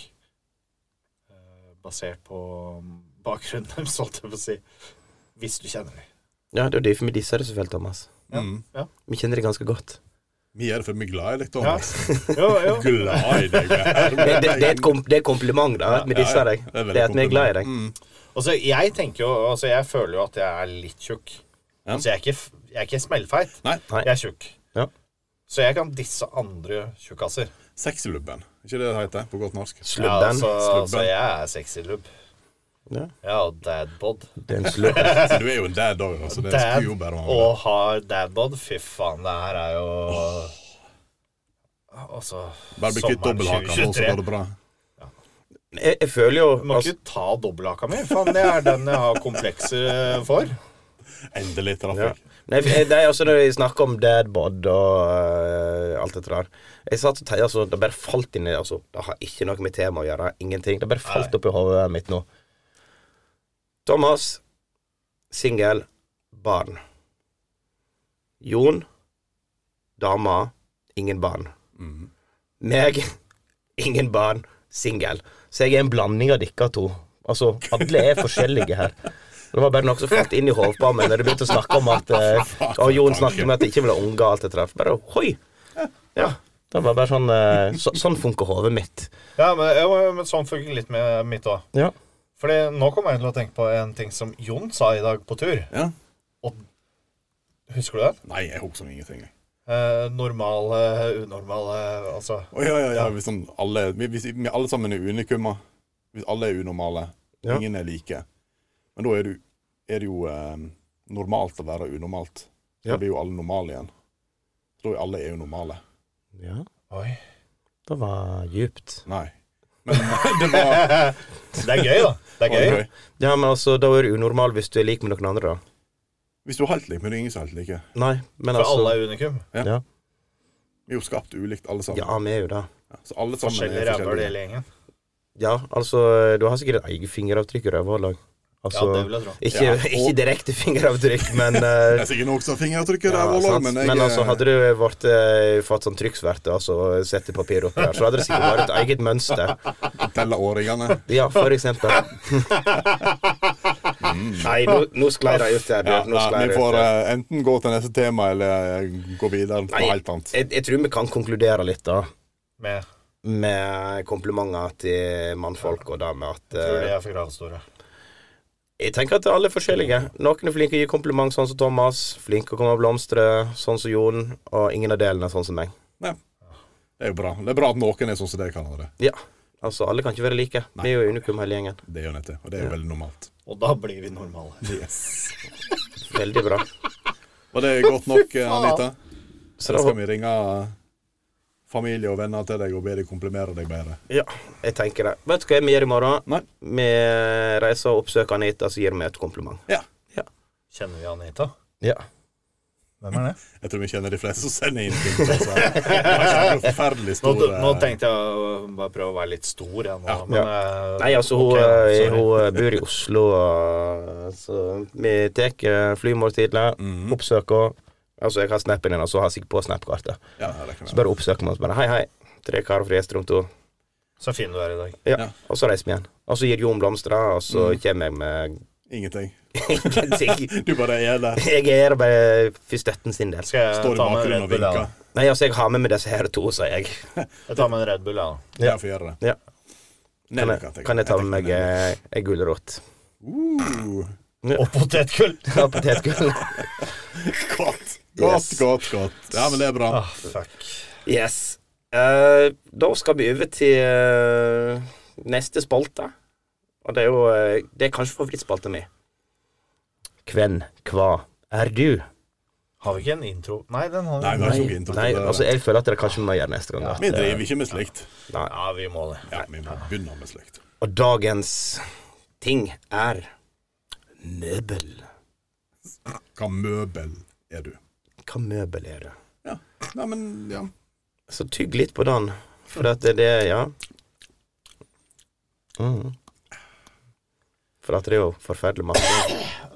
Speaker 3: eh, basert på um, bakgrunnen deres, holdt jeg på å si. Hvis du kjenner dem.
Speaker 4: Ja, det er jo derfor vi disser det så fælt, Thomas.
Speaker 3: Ja,
Speaker 5: Mm.
Speaker 3: ja.
Speaker 4: Vi kjenner det ganske godt.
Speaker 5: Vi er det for vi er glad i deg, Thomas.
Speaker 3: Jo, jo.
Speaker 5: Glad i deg.
Speaker 4: Det, det, det, er, et kom, det er et kompliment, da, at vi disser deg.
Speaker 5: Ja, ja, veldig
Speaker 4: Det er at vi er glad i deg.
Speaker 5: kompliment. Mm.
Speaker 3: Altså, jeg tenker jo Altså, jeg føler jo at jeg er litt tjukk.
Speaker 5: Ja.
Speaker 3: Altså, jeg er ikke, f- jeg er ikke smellfeit.
Speaker 5: Nei.
Speaker 4: Nei.
Speaker 3: Jeg er tjukk.
Speaker 4: Ja.
Speaker 3: Så jeg kan disse andre tjukkaser.
Speaker 5: Sexylubben. Ikke det det heter på godt norsk?
Speaker 3: Ja,
Speaker 4: Slubben.
Speaker 3: altså, altså,
Speaker 5: Slubben.
Speaker 3: jeg er sexy lubb.
Speaker 4: Ja,
Speaker 3: Ja, og dadbod.
Speaker 4: det er en slubb.
Speaker 5: Så Du er jo en dad òg, så det
Speaker 3: Dad
Speaker 5: skulle jo bare mangle.
Speaker 3: og har dadbod. Fy faen, det her er jo Altså
Speaker 5: Bare bli kvitt dobbelthaka nå, så går det bra.
Speaker 4: Jeg, jeg føler jo
Speaker 3: Du må
Speaker 4: altså,
Speaker 3: ikke ta dobbelthaka mi. Faen, det er den jeg har komplekser for.
Speaker 5: Endelig traff
Speaker 4: ja.
Speaker 5: jeg.
Speaker 4: Nei, jeg- nei, altså Når vi snakker om dadbod og eh, alt dette der Jeg satt og tenkte altså, Det bare falt inn i altså, Det har ikke noe med temaet å gjøre. Ingenting. Det bare falt opp i hodet mitt nå. Thomas, singel, barn. Jon, dama, ingen barn. Meg, ingen barn, singel. Så jeg er en blanding av dere to. Altså, alle er forskjellige her. Det var bare noe som falt inn i hodet på meg når de begynte å snakke om at eh, Og Jon snakket om at de ikke ville ha unger og alt det der. Bare hoi! Ja. Det var bare sånn eh, så, Sånn funker hodet mitt.
Speaker 3: Ja, men, ja, men- men sånn funker litt med mitt òg.
Speaker 4: Ja.
Speaker 3: Fordi nå kommer jeg til å tenke på en ting som Jon sa i dag på tur.
Speaker 5: Ja.
Speaker 3: Husker du det?
Speaker 5: Nei, jeg husker ingenting. jeg.
Speaker 3: Eh, normale, unormale Altså
Speaker 5: Å ja, ja, ja. Hvis sånn alle, hvis vi alle sammen er unikummer, hvis alle er unormale,
Speaker 4: Ja.
Speaker 5: ingen er like, Men da er det, jo- er det jo eh, normalt å være unormalt. Da
Speaker 4: Ja.
Speaker 5: blir jo alle normale igjen. Så da er alle er jo normale.
Speaker 4: Ja,
Speaker 3: Oi.
Speaker 4: det var djupt.
Speaker 5: Nei. Men eh, det var
Speaker 3: Det er gøy, da. Det er gøy.
Speaker 4: Ja, men altså, da er du unormal hvis du er lik med noen andre, da.
Speaker 5: Hvis du er helt lik, men det er ingen som er helt like.
Speaker 4: Nei, men
Speaker 3: For
Speaker 4: altså
Speaker 3: alle er unikum.
Speaker 4: ja.
Speaker 5: Vi er jo skapt ulikt, alle sammen.
Speaker 4: ja, vi er jo det.
Speaker 5: Ja, Så alle sammen
Speaker 3: Forskjellige
Speaker 5: er
Speaker 3: rævhøl i
Speaker 5: forskjellige.
Speaker 3: hele gjengen.
Speaker 4: Ja, altså, du har sikkert et eget fingeravtrykk i rødhårlag.
Speaker 3: Ja,
Speaker 4: Altså,
Speaker 3: det vil jeg tro.
Speaker 4: ikke,
Speaker 5: Ja, og-
Speaker 4: ikke direkte fingeravtrykk, men eh,
Speaker 5: Det er sikkert noen som har fingeravtrykk i
Speaker 4: ja,
Speaker 5: ræva,
Speaker 4: sant.
Speaker 5: men
Speaker 4: men,
Speaker 5: jeg
Speaker 4: altså,
Speaker 5: eh,
Speaker 4: hadde du vært, eh, fått sånn trykksverte altså, sett i papir oppi her, så hadde det sikkert vært et eget mønster.
Speaker 5: eh, teller årringene.
Speaker 4: Ja, for eksempel. Nei, nå, nå sklei det ut her. du.
Speaker 5: Mm. Ja,
Speaker 4: Nå sklei
Speaker 5: nei, vi
Speaker 4: det ut
Speaker 5: får
Speaker 4: her.
Speaker 5: eh, enten gå til neste tema, eller eh, gå videre på
Speaker 4: Nei, Eh.
Speaker 5: helt annet.
Speaker 4: Jeg, jeg tror vi kan konkludere litt, da.
Speaker 3: Med
Speaker 4: Med komplimenter til mannfolk og det med at
Speaker 3: tror de
Speaker 4: eh,
Speaker 3: er for gradstore.
Speaker 4: Jeg tenker at alle er forskjellige. Noen er flinke til å gi kompliment, sånn som Thomas. Flinke til å komme og blomstre, sånn som Jon. Og ingen av delene er sånn som meg.
Speaker 5: Nei. Det er jo bra. Det er bra at noen er sånn som dere kan ha det.
Speaker 4: Ja. Altså, alle kan ikke være like. Vi er jo unikum hele gjengen.
Speaker 5: Det er jo nettopp. Og det er jo veldig normalt.
Speaker 3: Og da blir vi normale.
Speaker 4: Veldig bra.
Speaker 5: Var det godt nok, eh, Anita?
Speaker 4: Så
Speaker 5: Da
Speaker 4: da,
Speaker 5: skal vi ringe eh, familie og venner til deg og be dem komplimere deg bedre.
Speaker 4: ja, jeg tenker det. Vet du hva vi gjør i morgen?
Speaker 5: Nei.
Speaker 4: Vi reiser og oppsøker Anita, så gir vi et kompliment.
Speaker 5: Ja.
Speaker 3: Kjenner vi Anita?
Speaker 4: Ja.
Speaker 3: Hvem er det?
Speaker 5: Jeg tror vi kjenner de fleste som sender inn ting. til oss her. Det var ikke noe forferdelig
Speaker 3: Nå,
Speaker 5: stor
Speaker 3: nå
Speaker 5: eh,
Speaker 3: tenkte jeg å bare prøve å være litt stor, jeg nå. Men, eh,
Speaker 4: Nei, altså, hun,
Speaker 3: ok,
Speaker 4: eh,
Speaker 3: sorry.
Speaker 4: hun eh, bor i Oslo, og, så vi tar eh, flymåltidene, oppsøker henne. Altså, jeg har snappen hennes, og hun har sikkert på snapkartet.
Speaker 5: Ja, det kan
Speaker 4: Så
Speaker 5: være.
Speaker 4: bare oppsøker vi oss bare Hei, hei. Tre karer fra Gjesterom 2.
Speaker 3: Så fin du er i dag.
Speaker 4: Ja.
Speaker 5: Ja.
Speaker 4: Og så reiser vi igjen. Og så gir Jon blomster, og så kommer jeg med
Speaker 5: Ingenting.
Speaker 4: ingenting.
Speaker 5: Du bare er der.
Speaker 4: Jeg er her bare for støtten sin del.
Speaker 3: Skal jeg
Speaker 5: Står i
Speaker 3: ta med en
Speaker 5: bakgrunnen
Speaker 3: Red
Speaker 5: og
Speaker 3: Bull, jeg,
Speaker 5: vinker.
Speaker 3: da?
Speaker 4: Nei, altså, jeg har med meg disse her to, sier jeg.
Speaker 3: Jeg tar med en Red Bull, jeg, da.
Speaker 5: Ja, får gjøre det.
Speaker 4: Ja. Kan
Speaker 5: Nelly,
Speaker 4: jeg, kan jeg ta med meg
Speaker 5: tenker
Speaker 4: eh, ei gulrot?
Speaker 5: Nelly. Uh,
Speaker 3: Og potetgull!
Speaker 4: Ja, potetgull.
Speaker 5: Godt, godt,
Speaker 4: Yes.
Speaker 5: godt. godt. Ja, men det er bra.
Speaker 3: Ah, fuck.
Speaker 4: Yes. Eh, da skal vi over til eh, neste spalte. Og det er jo eh, Det er kanskje favorittspalta mi. Hvem, hva er du?
Speaker 3: Har vi ikke en intro? Nei, den har vi.
Speaker 5: Nei, vi har ikke noe intro til
Speaker 4: Nei,
Speaker 5: det.
Speaker 4: altså, jeg føler at det kanskje vi må gjøre neste gang. at,
Speaker 5: Vi
Speaker 4: eh,
Speaker 5: driver ikke med slikt.
Speaker 4: nei.
Speaker 3: Ja, vi må det.
Speaker 5: Ja, vi må begynne med slikt.
Speaker 4: Og dagens ting er møbel.
Speaker 5: Hva møbel er du?
Speaker 4: Hva møbel er det?
Speaker 5: Ja. Nei, men ja.
Speaker 4: Så tygg litt på den, for at det er det Ja. Mm. For at det er jo forferdelig masse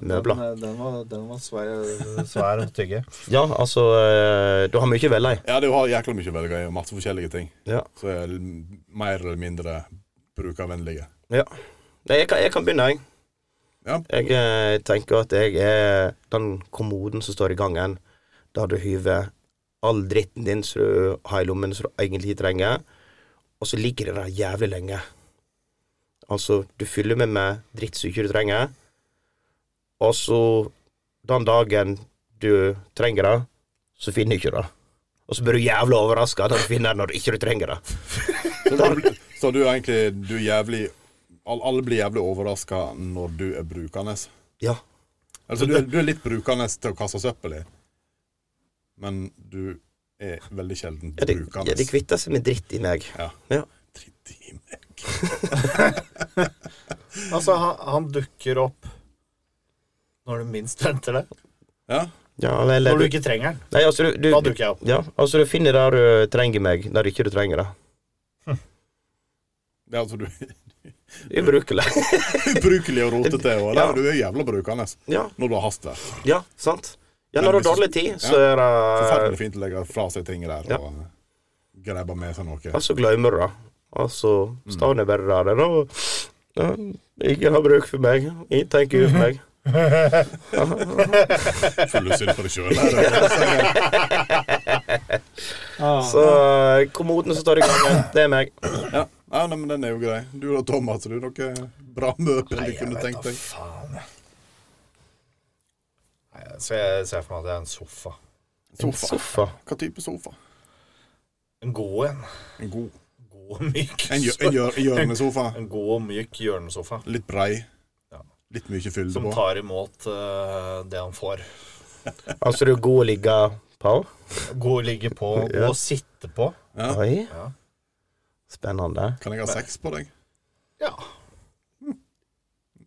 Speaker 4: møbler.
Speaker 3: Den, eh, den var, den var svær, svær og tygge.
Speaker 4: Ja, altså eh, Du har mye å velge i.
Speaker 5: ja, du har jækla mye å velge i, og masse forskjellige ting.
Speaker 4: Ja.
Speaker 5: Så er l- mer eller mindre brukervennlige.
Speaker 4: ja. Nei, jeg kan, jeg kan begynne, jeg.
Speaker 5: Ja.
Speaker 4: Jeg eh, tenker at jeg er den kommoden som står i gangen, der du hyver all dritten din som du har i lommen som du egentlig ikke trenger, og så ligger det der jævlig lenge. Altså, du fyller med med dritt som ikke du trenger, og så den dagen du trenger det, så finner du ikke det. Og så blir du jævlig overraska når du finner det når du ikke trenger det.
Speaker 5: Så du, bl- så du er egentlig du er jævlig all- Alle blir jævlig overraska når du er brukende.
Speaker 4: Ja.
Speaker 5: Altså, du, er- du er litt brukende til å kaste søppel i, men du er veldig sjelden
Speaker 4: Ja, de, ja,
Speaker 5: brukende.
Speaker 4: de kvitter seg med dritt i meg.
Speaker 5: Ja.
Speaker 4: Ja.
Speaker 5: Dritt i meg.
Speaker 3: Altså, han, han dukker opp når du minst venter det.
Speaker 5: Ja.
Speaker 4: Ja, vel,
Speaker 3: Når du
Speaker 4: du-
Speaker 3: ikke trenger den.
Speaker 4: Nei, altså, du, du,
Speaker 3: Da dukker jeg opp.
Speaker 4: Ja, altså du finner der du trenger meg, der ikke du trenger det.
Speaker 5: Det er altså du
Speaker 4: Ubrukelig.
Speaker 5: ubrukelig og rotete, og
Speaker 4: Ja.
Speaker 5: der, du er jævla brukende
Speaker 4: ja,
Speaker 5: når du har hastverk.
Speaker 4: ja, sant. Ja, når du har dårlig tid, så er
Speaker 5: Forferdelig
Speaker 4: det
Speaker 5: fint å legge fra seg ting der
Speaker 4: Eh, Ja.
Speaker 5: og grabbe med seg noe.
Speaker 4: Ja, så altså, glemmer du det. Og så
Speaker 5: Mm.
Speaker 4: står du bare der og ja, Ingen har bruk for meg. Ingen tenker ut meg.
Speaker 5: Fulle synd på deg sjøl.
Speaker 4: Så eh, kommoden som står i gangen, det er meg.
Speaker 5: Ja. ja, nei, men den er jo grei. Du og Thomas, har du noe bra møbel du kunne tenkt deg?
Speaker 3: faen. jeg. Nei, Så jeg ser for meg at det er en sofa.
Speaker 4: En
Speaker 5: Sofa.
Speaker 4: sofa.
Speaker 5: Hva type sofa?
Speaker 3: En god en.
Speaker 5: En god.
Speaker 3: God og myk.
Speaker 5: En, hjør- en hjør- en hjørnesofa.
Speaker 3: En god og myk hjørnesofa.
Speaker 5: Litt brei.
Speaker 3: Ja.
Speaker 5: Litt mye fylde
Speaker 3: Som
Speaker 5: på.
Speaker 3: tar imot eh, det han får.
Speaker 4: Altså, du er god å ligge på?
Speaker 3: God å ligge på, god å sitte på.
Speaker 5: Ja.
Speaker 4: Oi.
Speaker 3: Ja.
Speaker 4: Spennende.
Speaker 5: Kan jeg ha sex på deg?
Speaker 3: Ja.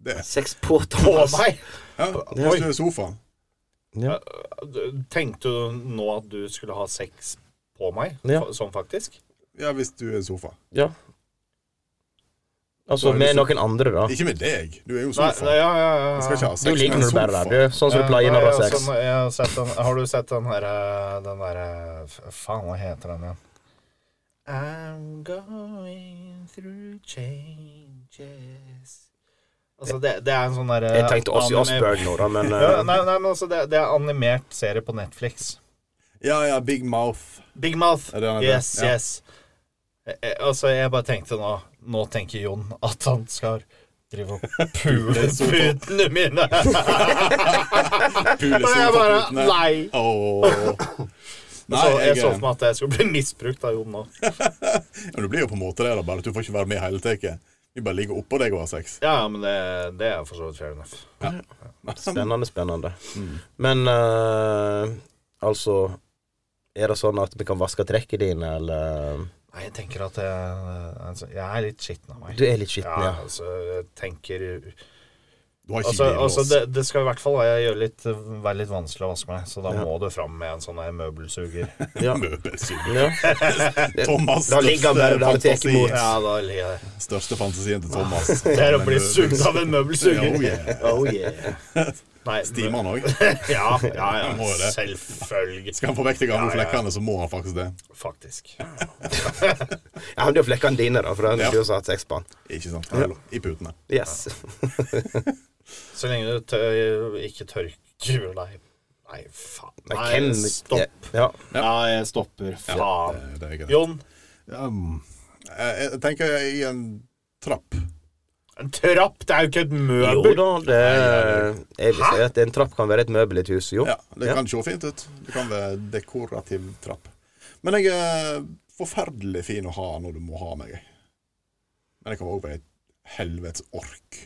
Speaker 5: Det.
Speaker 4: Sex på
Speaker 3: På
Speaker 4: Thomas.
Speaker 3: meg!
Speaker 5: Ja. Hvis du er i sofaen.
Speaker 4: Ja.
Speaker 3: Tenkte du nå at du skulle ha sex på meg?
Speaker 4: Ja.
Speaker 3: Fa- Sånn faktisk?
Speaker 5: Ja, hvis du er i sofa.
Speaker 4: ja. Altså med
Speaker 5: liksom-
Speaker 4: noen andre, da.
Speaker 5: Ikke med deg. Du er jo i
Speaker 3: Nei, nei,
Speaker 5: sofaen.
Speaker 3: ja, ja, ja.
Speaker 5: Jeg skal ikke ha sex
Speaker 4: Du ligger
Speaker 5: med en
Speaker 4: når du bare
Speaker 5: sofa.
Speaker 4: der, du. Sånn som du pleier
Speaker 3: Nei,
Speaker 4: når du har
Speaker 3: altså,
Speaker 4: sex.
Speaker 3: nå- jeg har sett den, har du sett den her eh, Den der eh, f- Faen, hva heter den igjen? I'm going through changes Altså, det, det er en sånn derre
Speaker 4: Jeg tenkte Ossie Osbourne nå, da, men
Speaker 3: Ja,
Speaker 4: eh,
Speaker 3: nei, nei, men altså, det, det er animert serie på Netflix.
Speaker 5: Ja, ja, Big Mouth.
Speaker 3: Big Mouth.
Speaker 5: Er det han heter?
Speaker 3: Yes,
Speaker 5: Ja.
Speaker 3: yes. Eh, eh, Altså, jeg bare tenkte nå Nå tenker Jon at han skal drive og pule putene mine.
Speaker 5: Pule
Speaker 3: Og jeg bare
Speaker 5: sofaputene.
Speaker 3: Nei.
Speaker 5: Åh. Nei,
Speaker 3: Så jeg
Speaker 5: jeg,
Speaker 3: så for meg at jeg skulle bli misbrukt av Jon nå.
Speaker 5: ja, du blir jo på en måte det, da, bare at du får ikke være med i hele taket. Vi bare ligger oppå deg og har sex.
Speaker 3: Ja, ja, men det, det er for så vidt fair enough.
Speaker 5: Sånn.
Speaker 4: Spennende, spennende.
Speaker 5: Mm.
Speaker 4: Men eh, altså Er det sånn at vi kan vaske trekket dine, eller
Speaker 3: Nei, jeg tenker at jeg, altså, jeg er litt skitten av meg.
Speaker 4: Du er litt skitten,
Speaker 3: Ja,
Speaker 4: ja.
Speaker 3: altså, jeg tenker
Speaker 5: Du har ikke
Speaker 3: Altså,
Speaker 5: glidelås.
Speaker 3: altså det, det skal i hvert fall være- gjøre litt, være litt vanskelig å vaske meg, så da
Speaker 4: Ja.
Speaker 3: må du fram med en sånn her møbelsuger.
Speaker 4: ja.
Speaker 5: Møbelsyn.
Speaker 4: ja.
Speaker 5: Thomas'
Speaker 4: Da ligger han
Speaker 5: største
Speaker 4: bare der og tar
Speaker 5: fantasi.
Speaker 4: imot.
Speaker 3: Ja, da ligger jeg der.
Speaker 5: Største fantasien til Thomas. eh,
Speaker 3: Det er å bli sugd av en
Speaker 5: Ja,
Speaker 3: møbelsuger.
Speaker 5: oh yeah.
Speaker 4: Oh yeah.
Speaker 3: Nei,
Speaker 5: Stimer han òg?
Speaker 3: Ja, ja, ja.
Speaker 5: Han må jo det.
Speaker 3: Selvfølgelig.
Speaker 5: Skal han få vekk de
Speaker 3: Ja,
Speaker 5: gamle
Speaker 3: ja.
Speaker 5: flekkene, så må han faktisk det.
Speaker 3: Faktisk.
Speaker 4: Ja, men det er jo flekkene dine, da, for den
Speaker 5: Ja.
Speaker 4: du har hatt sex på den.
Speaker 5: Ikke sant? Hallo. I putene.
Speaker 4: Yes.
Speaker 3: Så lenge du tør, ikke tørker deg Nei, faen.
Speaker 4: Men
Speaker 3: Nei,
Speaker 4: hvem
Speaker 3: stopp.
Speaker 4: Ja.
Speaker 3: Ja, jeg stopper. Faen.
Speaker 5: Det, det er greit.
Speaker 3: Jon,
Speaker 5: Um, jeg, jeg tenker i en trapp.
Speaker 3: en trapp, det er jo ikke et
Speaker 4: Jo
Speaker 3: møbel.
Speaker 4: da, det Jeg vil si at en trapp kan være et møbel i et hus, jo.
Speaker 5: Ja, det
Speaker 4: Ja.
Speaker 5: kan se fint ut. Det kan være dekorativ trapp. Men jeg er forferdelig fin å ha når du må ha meg. Men jeg kan òg være et helvetes ork.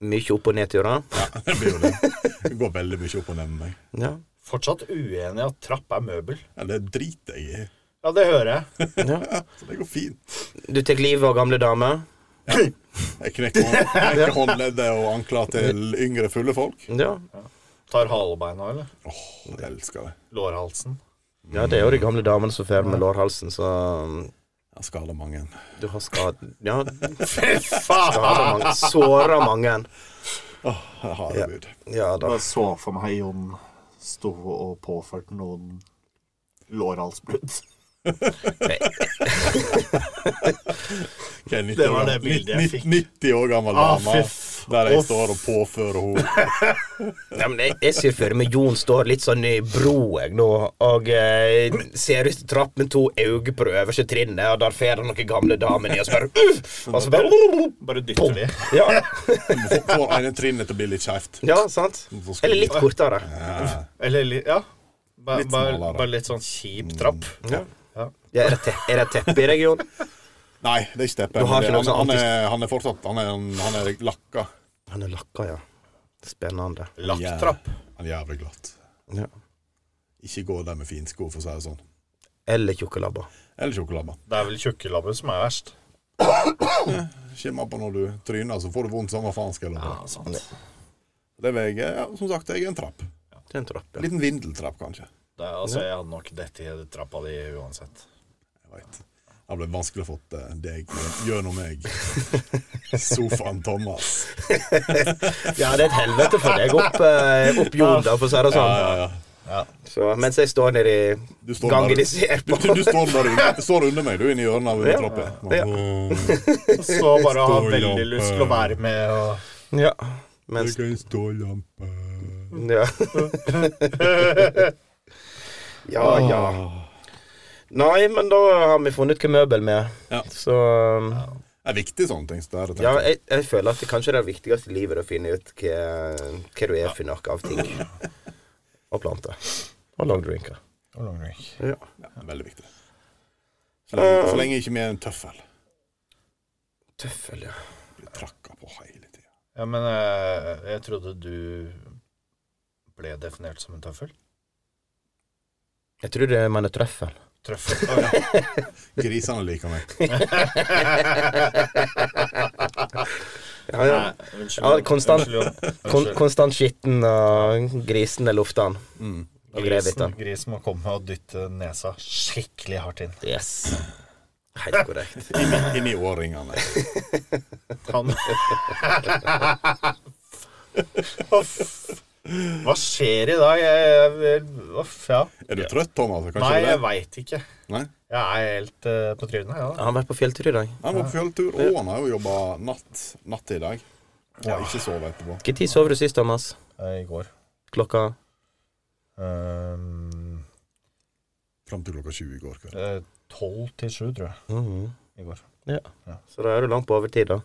Speaker 4: Mye opp- og nedturer.
Speaker 5: Det blir jo det. Det går veldig mye opp og ned med meg.
Speaker 4: Ja.
Speaker 3: Fortsatt uenig i at trapp er møbel.
Speaker 5: Ja, det driter jeg i.
Speaker 3: Ja, det hører jeg.
Speaker 4: ja.
Speaker 5: Så det går fint.
Speaker 4: Du tar livet av gamle damer.
Speaker 5: Jeg knekker, hå- knekker håndleddet og ankler til yngre, fulle folk.
Speaker 4: Ja.
Speaker 3: Tar halebeina, eller?
Speaker 5: Åh, jeg elsker det.
Speaker 3: Lårhalsen.
Speaker 4: ja, det er jo de gamle damene som får med lårhalsen, så um,
Speaker 5: Jeg skader mange.
Speaker 4: du har skad... Ja,
Speaker 3: Fy faen!
Speaker 4: skada mange. Såra mange.
Speaker 5: Åh, jeg har det, Gud.
Speaker 4: Ja da.
Speaker 3: så for meg Jon sto og påførte noen lårhalsbrudd.
Speaker 5: Hva er 90
Speaker 3: Det var
Speaker 5: år
Speaker 3: det
Speaker 5: gammel-
Speaker 3: bildet jeg
Speaker 5: nitt-
Speaker 3: fikk.
Speaker 5: 90 år gammel
Speaker 3: Ah,
Speaker 5: dame
Speaker 3: fy f-
Speaker 5: der
Speaker 3: å,
Speaker 5: jeg står og påfører henne.
Speaker 4: Ja, men jeg, jeg ser for meg Jon står litt sånn i bro jeg nå, og eh, ser ut i trapp med to øyne på det øverste trinnet, og der får han noen gamle damer ned og spør Og så bare
Speaker 3: Bare dytter de.
Speaker 4: Ja,
Speaker 5: Får ene trinnet til å bli litt skjevt.
Speaker 4: ja sant? Eller litt kortere.
Speaker 3: Eller li- ja. Bare,
Speaker 5: Litt
Speaker 3: bare,
Speaker 5: smalere.
Speaker 3: bare litt sånn kjip trapp.
Speaker 4: Ja.
Speaker 3: Ja.
Speaker 4: Ja, er det te- er det teppe i regionen?
Speaker 5: Nei, det er ikke Steppe.
Speaker 4: Du har
Speaker 5: men
Speaker 4: ikke noe
Speaker 5: det- han,
Speaker 4: sånn
Speaker 5: han, er, han er fortsatt Han er, han er lakka.
Speaker 4: Han er lakka, ja. Spennende.
Speaker 5: Jæv-
Speaker 3: Lakktrapp.
Speaker 5: Han er jævlig glatt.
Speaker 4: Ja.
Speaker 5: Ikke gå der med finsko, for å si det sånn.
Speaker 4: Eller tjukke labber.
Speaker 5: Eller sjokolade.
Speaker 3: Det er vel tjukkelabben som er verst.
Speaker 5: Skimmer på når du tryner, så får du vondt samme faen. skal jeg love deg.
Speaker 3: sant.
Speaker 5: Det er jeg, ja, som sagt, jeg er en trapp.
Speaker 4: Det er en trapp, ja.
Speaker 5: Liten vindeltrapp, kanskje.
Speaker 3: Det er, altså, jeg hadde nok dette i trappa di uansett.
Speaker 5: Jeg vet. Det ble vanskelig å få eh, deg gjennom meg. Sofaen Thomas.
Speaker 4: Ja, det er et helvete for deg opp, eh, opp jorda, for å si det sånn.
Speaker 5: Ja, ja, ja.
Speaker 4: Så, mens jeg står nede
Speaker 5: Du
Speaker 4: i
Speaker 5: står
Speaker 4: gangen
Speaker 5: bare-
Speaker 4: de ser
Speaker 5: Du,
Speaker 4: på.
Speaker 5: du, du står, der, under- står under meg, du, inne i hjørnet av
Speaker 4: Ja.
Speaker 5: trappa.
Speaker 4: Ja.
Speaker 3: Så bare ha
Speaker 5: Stor
Speaker 3: veldig
Speaker 5: lampe.
Speaker 3: lyst til å være med og
Speaker 4: Ja. Mens
Speaker 5: er en stålampe
Speaker 4: Ja. ja, ja. Nei, men da har vi funnet hva møbel vi er.
Speaker 5: Ja.
Speaker 4: Så
Speaker 5: Det er viktig sånne ting. så Det er, det,
Speaker 4: ja,
Speaker 5: tenker jeg.
Speaker 4: jeg, jeg føler at det kanskje er det viktigste i livet er å finne ut hva, hva du er for noe av ting. Og planter. Og langdrinker. Ja.
Speaker 5: ja, det er veldig viktig. Så lenge, så lenge ikke vi er en tøffel.
Speaker 4: Tøffel, ja.
Speaker 5: Blir trakka på hele tida.
Speaker 3: Ja, men eh, jeg trodde du ble definert som en tøffel.
Speaker 4: Jeg tror det man er trøffel.
Speaker 3: Trøffel. Å, ja.
Speaker 5: Grisene liker meg.
Speaker 4: Ja, ja.
Speaker 3: Nei, unnskyld.
Speaker 4: Ja, konstant-
Speaker 3: Unnskyld, Jon.
Speaker 4: Kon
Speaker 3: Unnskyld.
Speaker 4: konstant skitten og grisen er lufta han.
Speaker 5: Mm.
Speaker 4: Og
Speaker 3: Grisen,
Speaker 4: grevita.
Speaker 3: grisen må komme og dytte nesa skikkelig hardt inn.
Speaker 4: Yes. Helt korrekt.
Speaker 5: Inni, inni årringene.
Speaker 3: Han Uff. Hva skjer i dag? Jeg, jeg, uff, ja.
Speaker 5: Er du trøtt, Thomas? Kanskje
Speaker 3: Nei,
Speaker 5: det?
Speaker 3: jeg veit ikke.
Speaker 5: Nei?
Speaker 3: Jeg er helt eh, på trynet. Ja.
Speaker 4: Har han vært på fjelltur i dag?
Speaker 5: Han var på fjelltur, og han har jo jobba natt, natt til i dag. Og har ikke sovet etterpå.
Speaker 4: Når sov du sist, Thomas?
Speaker 3: Eh, I går.
Speaker 4: Klokka
Speaker 3: Ehm,
Speaker 5: Fram til klokka 20 i går kveld.
Speaker 3: eh, Tolv til sju, tror jeg.
Speaker 4: Mhm.
Speaker 3: I går.
Speaker 4: Så da er du langt på overtid, da.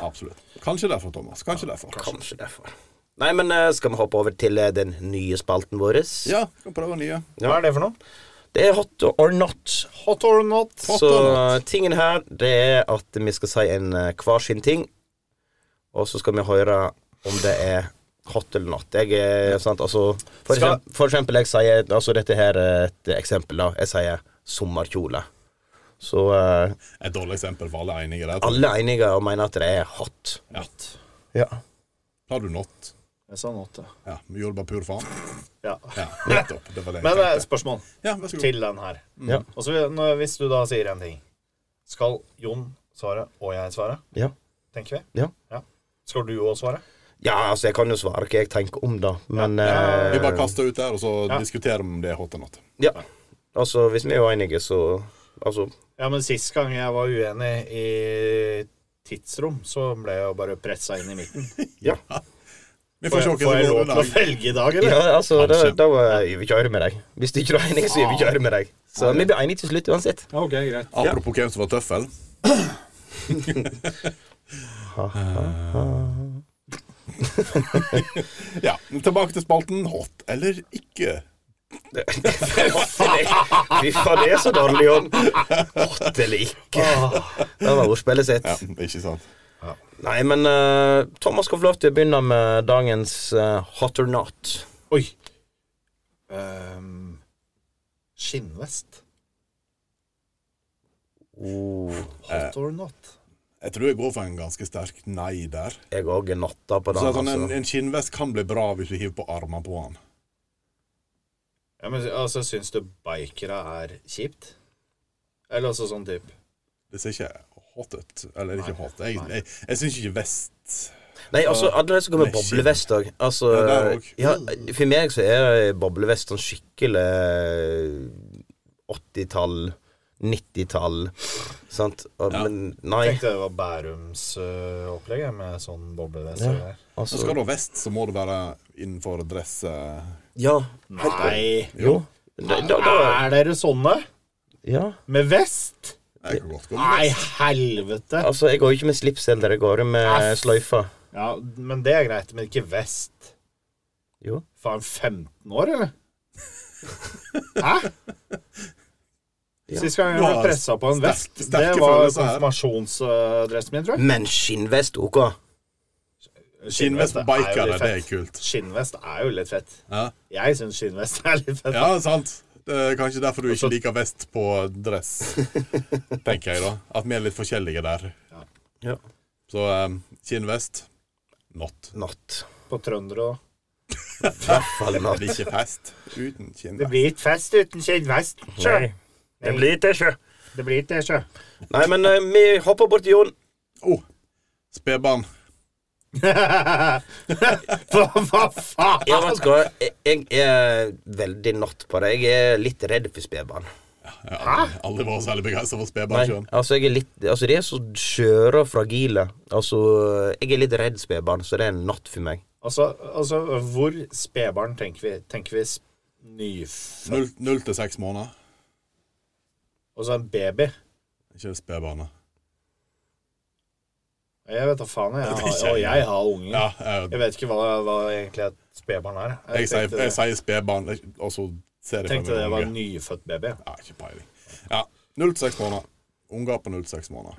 Speaker 5: Absolutt. Kanskje derfor, Thomas. Kanskje derfor.
Speaker 4: Kanskje derfor. Nei, men eh, skal vi hoppe over til eh, den nye spalten vår?
Speaker 5: Ja, kan prøve nye.
Speaker 3: Hva er det for noe?
Speaker 4: Det er hot or not.
Speaker 3: Hot or not?
Speaker 4: Så eh, tingen her, det er at vi skal si en eh, hver sin ting, og så skal vi høre om det er hot eller not. Jeg er sant, altså for,
Speaker 3: Skal-
Speaker 4: eksempel, for eksempel, jeg sier Altså, dette her er et eksempel, da. Jeg sier sommerkjole. Så eh,
Speaker 5: Et dårlig eksempel for alle enige der.
Speaker 4: alle er enige og mener at det er hot.
Speaker 5: Ja.
Speaker 4: Ja.
Speaker 5: Har du not?
Speaker 3: Jeg sa not, ja.
Speaker 5: Ja, vi gjorde bare pur faen.
Speaker 3: ja.
Speaker 5: Ja, nettopp. Det var det jeg
Speaker 3: Men eh,
Speaker 5: tenkte.
Speaker 3: spørsmål
Speaker 5: Ja, vær så god.
Speaker 3: til den her.
Speaker 4: Ja.
Speaker 3: Og så vil- når- Hvis du da sier en ting, skal Jon svare og jeg svare?
Speaker 4: Ja.
Speaker 3: Tenker vi?
Speaker 4: Ja.
Speaker 3: Skal du òg svare?
Speaker 4: ja, altså, jeg kan jo svare hva jeg tenker om det, men
Speaker 3: Ja.
Speaker 5: Vi
Speaker 4: eh,
Speaker 5: bare kaster ut der, og så
Speaker 3: Ja.
Speaker 5: diskuterer vi om det er hot eller not.
Speaker 4: Ja. Altså, hvis vi er uenige, så Altså,
Speaker 3: Ja, men sist gang jeg var uenig i tidsrom, så ble jeg jo bare pressa inn i midten.
Speaker 5: Vi
Speaker 3: Får
Speaker 5: får se
Speaker 3: jeg,
Speaker 5: hva
Speaker 3: får jeg
Speaker 5: som
Speaker 3: lov
Speaker 5: går
Speaker 3: til å
Speaker 5: under.
Speaker 3: velge i dag, eller?
Speaker 4: ja, altså da,
Speaker 5: Kanskje.
Speaker 4: da eh, jeg vil ikke høre med deg. Hvis du ikke er enig, så vil vi ikke høre med deg. Så vi blir enige til slutt uansett.
Speaker 3: Ja, ok, greit.
Speaker 5: Apropos hvem som var tøffel. Ja, tilbake til spalten hot eller ikke.
Speaker 4: Fy faen, det er så dårlig jobb. Hot eller ikke. Det var ordspillet sitt.
Speaker 5: Ja, ikke sant?
Speaker 4: Nei, men eh, Thomas skal få lov til å begynne med dagens eh, hot or not.
Speaker 3: Oi. Ehm, skinnvest.
Speaker 4: Oh.
Speaker 3: Hot or not?
Speaker 5: Jeg tror jeg går for en ganske sterk nei der.
Speaker 4: Jeg òg er natta på den.
Speaker 5: Så sånn, en,
Speaker 4: Altså.
Speaker 5: en skinnvest kan bli bra hvis du hiver på armene på han.
Speaker 3: Ja, men altså, syns du bikere er kjipt? Eller altså sånn type
Speaker 5: Det ser ikke hot ut. Eller ikke hot. Jeg, jeg, jeg syns ikke vest
Speaker 4: Nei, altså, alle de som går med
Speaker 5: Nei, shit.
Speaker 4: boblevest òg. Altså,
Speaker 5: Ja, der også. Mm.
Speaker 4: ja, for meg så er boblevest sånn skikkelig eh, 80-tall, 90-tall. Sant? Og, Men nei,
Speaker 3: Tenkte det var Bærums øh, opplegg jeg, med sånn boblevest. og greier.
Speaker 5: Så skal
Speaker 4: altså
Speaker 5: du ha vest, så må det være innenfor dress eh,
Speaker 4: Ja.
Speaker 3: Nei.
Speaker 4: Jo. Da, da, da,
Speaker 3: Er dere sånne?
Speaker 4: ja.
Speaker 3: Med vest?
Speaker 5: Jeg kan godt gå med
Speaker 3: Nei,
Speaker 5: vest.
Speaker 3: helvete!
Speaker 4: Altså, jeg går jo ikke med slips heller, jeg går jo med sløyfa.
Speaker 3: Ja, Men det er greit, men ikke vest.
Speaker 4: Jo.
Speaker 3: Faen, 15 år, eller? Hæ?
Speaker 4: Ja.
Speaker 3: Sist gang jeg
Speaker 5: Du
Speaker 3: ble
Speaker 5: har
Speaker 3: pressa på en
Speaker 5: sterk-
Speaker 3: vest, det
Speaker 5: sterke
Speaker 3: var
Speaker 5: følelser her.
Speaker 3: konfirmasjonsdressen min, tror jeg.
Speaker 4: Men skinnvest, OK.
Speaker 5: Skinnvest på
Speaker 3: er jo
Speaker 5: biker,
Speaker 3: litt
Speaker 5: det er
Speaker 3: fett.
Speaker 5: kult.
Speaker 3: Skinnvest er jo litt fett.
Speaker 5: Ja,
Speaker 3: Jeg syns skinnvest er litt fett.
Speaker 5: ja sant. Det er kanskje derfor du
Speaker 3: så-
Speaker 5: ikke liker vest på dress, tenker jeg da. At vi er litt forskjellige der.
Speaker 4: Ja.
Speaker 5: Så eh, skinnvest not.
Speaker 4: Natt.
Speaker 3: På trøndere òg.
Speaker 4: I hvert fall
Speaker 5: Det
Speaker 4: natt.
Speaker 5: blir ikke fest uten
Speaker 3: Det
Speaker 5: skinnvest.
Speaker 3: blir ikke fest uten skinnvest. Sjø.
Speaker 4: Det blir ikke sjø.
Speaker 3: Det blir ikke det, sjø.
Speaker 4: Nei, men eh, vi hopper bort til Jon.
Speaker 5: Oh, Spedbarn.
Speaker 3: Hva, hva faen?
Speaker 4: Ja, vet du hva? Jeg, jeg er veldig natt på det. Jeg er litt redd for spedbarn.
Speaker 5: Jeg har aldri, aldri vært særlig begeistra for
Speaker 4: Nei,
Speaker 5: spedbarn sjøl.
Speaker 4: altså, jeg er litt Altså, de er så skjøre og fragile. Altså, jeg er litt redd spedbarn, så det er en natt for meg.
Speaker 3: Altså, altså hvor spedbarn tenker vi? Tenker vi sp- nyfødt?
Speaker 5: Null null til seks måneder.
Speaker 3: Og så en baby?
Speaker 5: Ikke spedbarnet.
Speaker 3: Jeg vet da faen, jeg.
Speaker 5: Det er
Speaker 3: Har,
Speaker 5: ikke-
Speaker 3: og jeg har unger.
Speaker 5: Ja, jeg,
Speaker 3: Jeg vet ikke hva, hva egentlig et spedbarn er.
Speaker 5: jeg, sier,
Speaker 3: tenkte
Speaker 5: jeg
Speaker 3: det,
Speaker 5: sier spedbarn, og så ser jeg
Speaker 3: tenkte det var en
Speaker 5: unge.
Speaker 3: nyfødt baby.
Speaker 5: Ja, ikke peiling. Ja, null til seks måneder. Unger på null til seks måneder.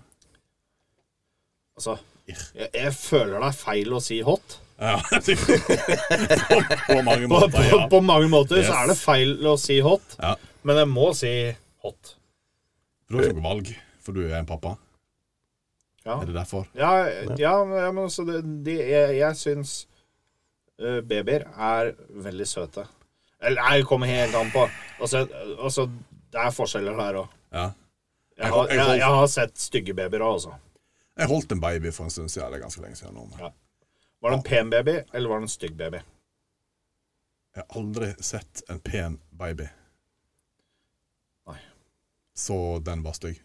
Speaker 3: Altså,
Speaker 5: Irr.
Speaker 3: Jeg, jeg føler det er feil å si hot.
Speaker 5: Ja. på, på mange
Speaker 3: På,
Speaker 5: måter,
Speaker 3: på,
Speaker 5: ja.
Speaker 3: på mange måter så
Speaker 5: Yes.
Speaker 3: er det feil å si hot,
Speaker 5: ja.
Speaker 3: men jeg må si hot.
Speaker 5: Du har ikke noe valg, for du er en pappa.
Speaker 3: Ja,
Speaker 5: Er det derfor?
Speaker 3: ja, ja, ja men altså det, de, Jeg, jeg syns eh, babyer er veldig søte. Eller nei, det kommer helt an på. Altså, altså det er forskjeller der òg.
Speaker 5: Ja.
Speaker 3: Jeg, har- jeg, jeg har sett stygge babyer òg, altså.
Speaker 5: Jeg holdt en baby for en stund siden. Det er ganske lenge siden nå. men
Speaker 3: Ja. Var det en pen baby, eller var det en stygg baby?
Speaker 5: Jeg har aldri sett en pen baby.
Speaker 3: Nei.
Speaker 5: Så den var stygg.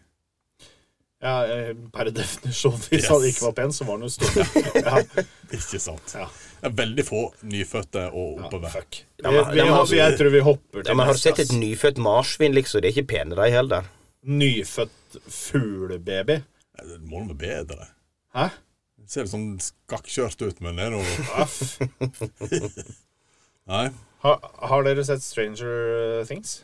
Speaker 3: Ja, eh, per definisjon, hvis
Speaker 5: Yes.
Speaker 3: han ikke var pen, så var han jo stygg. Ja.
Speaker 5: Ikke sant?
Speaker 3: Ja.
Speaker 5: Det er veldig få nyfødte og oppover.
Speaker 3: Fuck.
Speaker 4: Ja, men-
Speaker 3: Vi- vi
Speaker 4: ja, men
Speaker 3: hopper-
Speaker 4: altså-
Speaker 3: jeg tror vi hopper til
Speaker 4: Ja, men Har du
Speaker 3: neste,
Speaker 4: sett et
Speaker 3: ass.
Speaker 4: nyfødt marsvin, liksom? De er ikke pene, de heller.
Speaker 3: nyfødt fuglebaby?
Speaker 5: Ja, det må da være bedre.
Speaker 3: Hæ?
Speaker 5: Det ser litt sånn skakkjørt ut, men det er noe
Speaker 3: Aff.
Speaker 5: Nei.
Speaker 3: Har, har dere sett Stranger Things?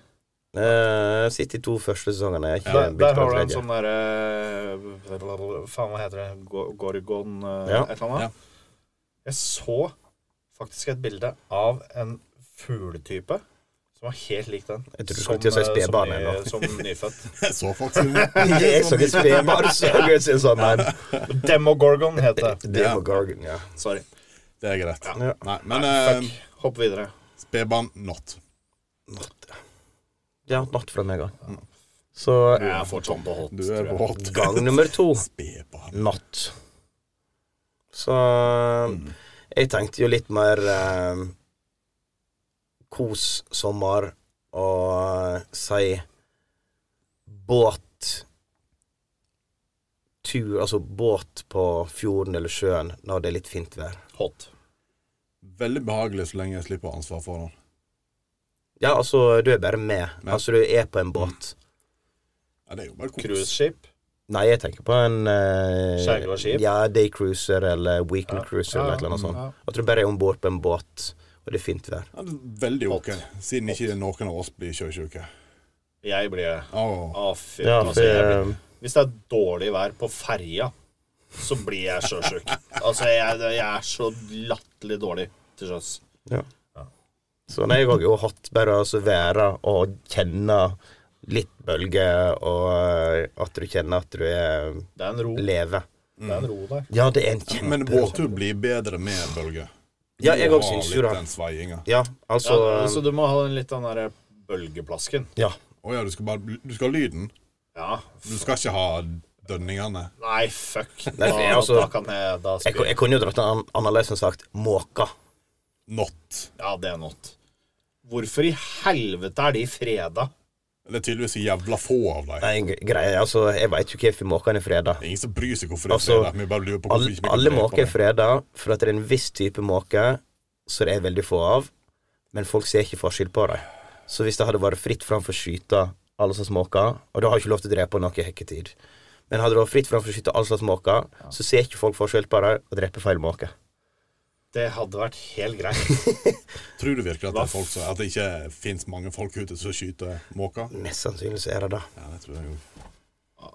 Speaker 4: Uh, sitt de to første sesongene. Jeg er ikke
Speaker 3: Der,
Speaker 4: begynt på
Speaker 3: der
Speaker 4: den
Speaker 3: har du en
Speaker 4: tredje.
Speaker 3: sånn derre Faen, hva heter det? Go- Gorgon eh,
Speaker 4: Ja,
Speaker 3: et eller annet?
Speaker 5: ja.
Speaker 3: Jeg så faktisk et bilde av en fugletype som var helt lik den.
Speaker 4: Jeg trodde du
Speaker 3: som,
Speaker 4: skulle til å si
Speaker 3: eh, som
Speaker 4: spedbarn
Speaker 3: ny-
Speaker 4: ennå.
Speaker 3: Som nyfødt.
Speaker 5: Jeg så faktisk
Speaker 4: Jeg så ikke spedbarn, så jeg synes sånn, men
Speaker 3: Demogorgon het det.
Speaker 4: Det var Gargan, ja.
Speaker 3: Sorry.
Speaker 5: Det er greit.
Speaker 3: Ja.
Speaker 5: Nei, men
Speaker 3: Fuck.
Speaker 4: Um,
Speaker 5: eh,
Speaker 3: Hopp videre.
Speaker 5: spedbarn not.
Speaker 4: Not, ja. Ja, not fra meg òg.
Speaker 3: Mm.
Speaker 4: Så
Speaker 3: Jeg er fortsatt på hot.
Speaker 5: Du er på hot.
Speaker 4: gang nummer to
Speaker 5: Spedbarn.
Speaker 4: not. Så jeg tenkte jo litt mer eh, kos sommer og eh, si båt tur, Altså båt på fjorden eller sjøen når det er litt fint vær.
Speaker 3: Hot.
Speaker 5: Veldig behagelig så lenge jeg slipper å ha ansvar for den.
Speaker 4: Ja, altså, du er bare med.
Speaker 5: Ja.
Speaker 4: Altså, du er på en båt.
Speaker 5: Ja, det er jo bare kos.
Speaker 3: Cruiseskip.
Speaker 4: Nei, jeg tenker på en eh,
Speaker 3: Skjærgårdsskip?
Speaker 4: Ja, daycruiser eller weekend
Speaker 3: Ja.
Speaker 4: cruiser
Speaker 3: Ja,
Speaker 4: eller
Speaker 3: ja.
Speaker 4: et eller annet sånt.
Speaker 3: Ja.
Speaker 4: At du bare er om bord på en båt, og det er fint vær.
Speaker 5: Ja, det er veldig ok, siden ikke noen av oss blir sjøsjuke.
Speaker 3: Jeg blir det.
Speaker 4: Ah.
Speaker 5: Åh,
Speaker 3: Å, fy
Speaker 4: Ja,
Speaker 3: altså,
Speaker 4: for
Speaker 3: jeg blir-
Speaker 4: eh,
Speaker 3: Hvis det er dårlig vær på ferja, så blir jeg sjøsjuk. altså, jeg, jeg er så latterlig dårlig til sjøs.
Speaker 4: Så nei, jeg har jo hatt bare å altså, være og kjenne litt bølger, og eh, at du kjenner at du er
Speaker 3: Det er en ro.
Speaker 4: lever.
Speaker 3: Det er en ro der.
Speaker 4: Ja, det er en
Speaker 5: Men
Speaker 4: kjempe...
Speaker 5: båttur blir bedre med bølge.
Speaker 4: Ja, jeg
Speaker 5: Du
Speaker 4: òg
Speaker 5: har
Speaker 4: syns
Speaker 5: litt
Speaker 4: jo det.
Speaker 5: Den sveiinga.
Speaker 4: Ja,
Speaker 3: Så,
Speaker 4: altså
Speaker 3: ja, så du må ha den litt den derre bølgeplasken.
Speaker 4: Ja.
Speaker 5: Å ja, du skal bare bl- Du skal ha lyden.
Speaker 3: Ja.
Speaker 5: Du skal ikke ha dønningene.
Speaker 3: Nei, fuck. Da,
Speaker 4: Nei, for jeg, altså,
Speaker 3: da kan jeg da
Speaker 4: Jeg,
Speaker 3: spyr.
Speaker 4: jeg kunne jo dratt den an annerledes enn sagt måka.
Speaker 5: Not.
Speaker 3: Ja, det er not. Hvorfor i helvete er de freda?
Speaker 5: Det er tydeligvis så jævla få av dem.
Speaker 4: Nei, greie, altså, jeg veit jo hvorfor måkene er freda.
Speaker 5: Ingen som bryr seg hvorfor de
Speaker 4: Altså,
Speaker 5: ser det. Vi bare lurer på hvorfor
Speaker 4: Alle,
Speaker 5: ikke vi kan
Speaker 4: alle
Speaker 5: drepe
Speaker 4: måker er
Speaker 5: dem.
Speaker 4: freda, for at det er en viss type måke som det er veldig få av, men folk ser ikke forskjell på dem. Så hvis det hadde vært fritt fram for å skyte alle slags måker Og da har jeg ikke lov til å drepe noen i hekketid. Men hadde det vært fritt fram for å skyte alle slags måker, så ser ikke folk forskjell på dem og dreper feil måke.
Speaker 3: Det hadde vært helt greit.
Speaker 5: Tror du virkelig at det, er folk som, at det ikke fins mange folk ute som skyter måker?
Speaker 4: Mest sannsynlig så er det det.
Speaker 5: Ja, det tror jeg jo. Men,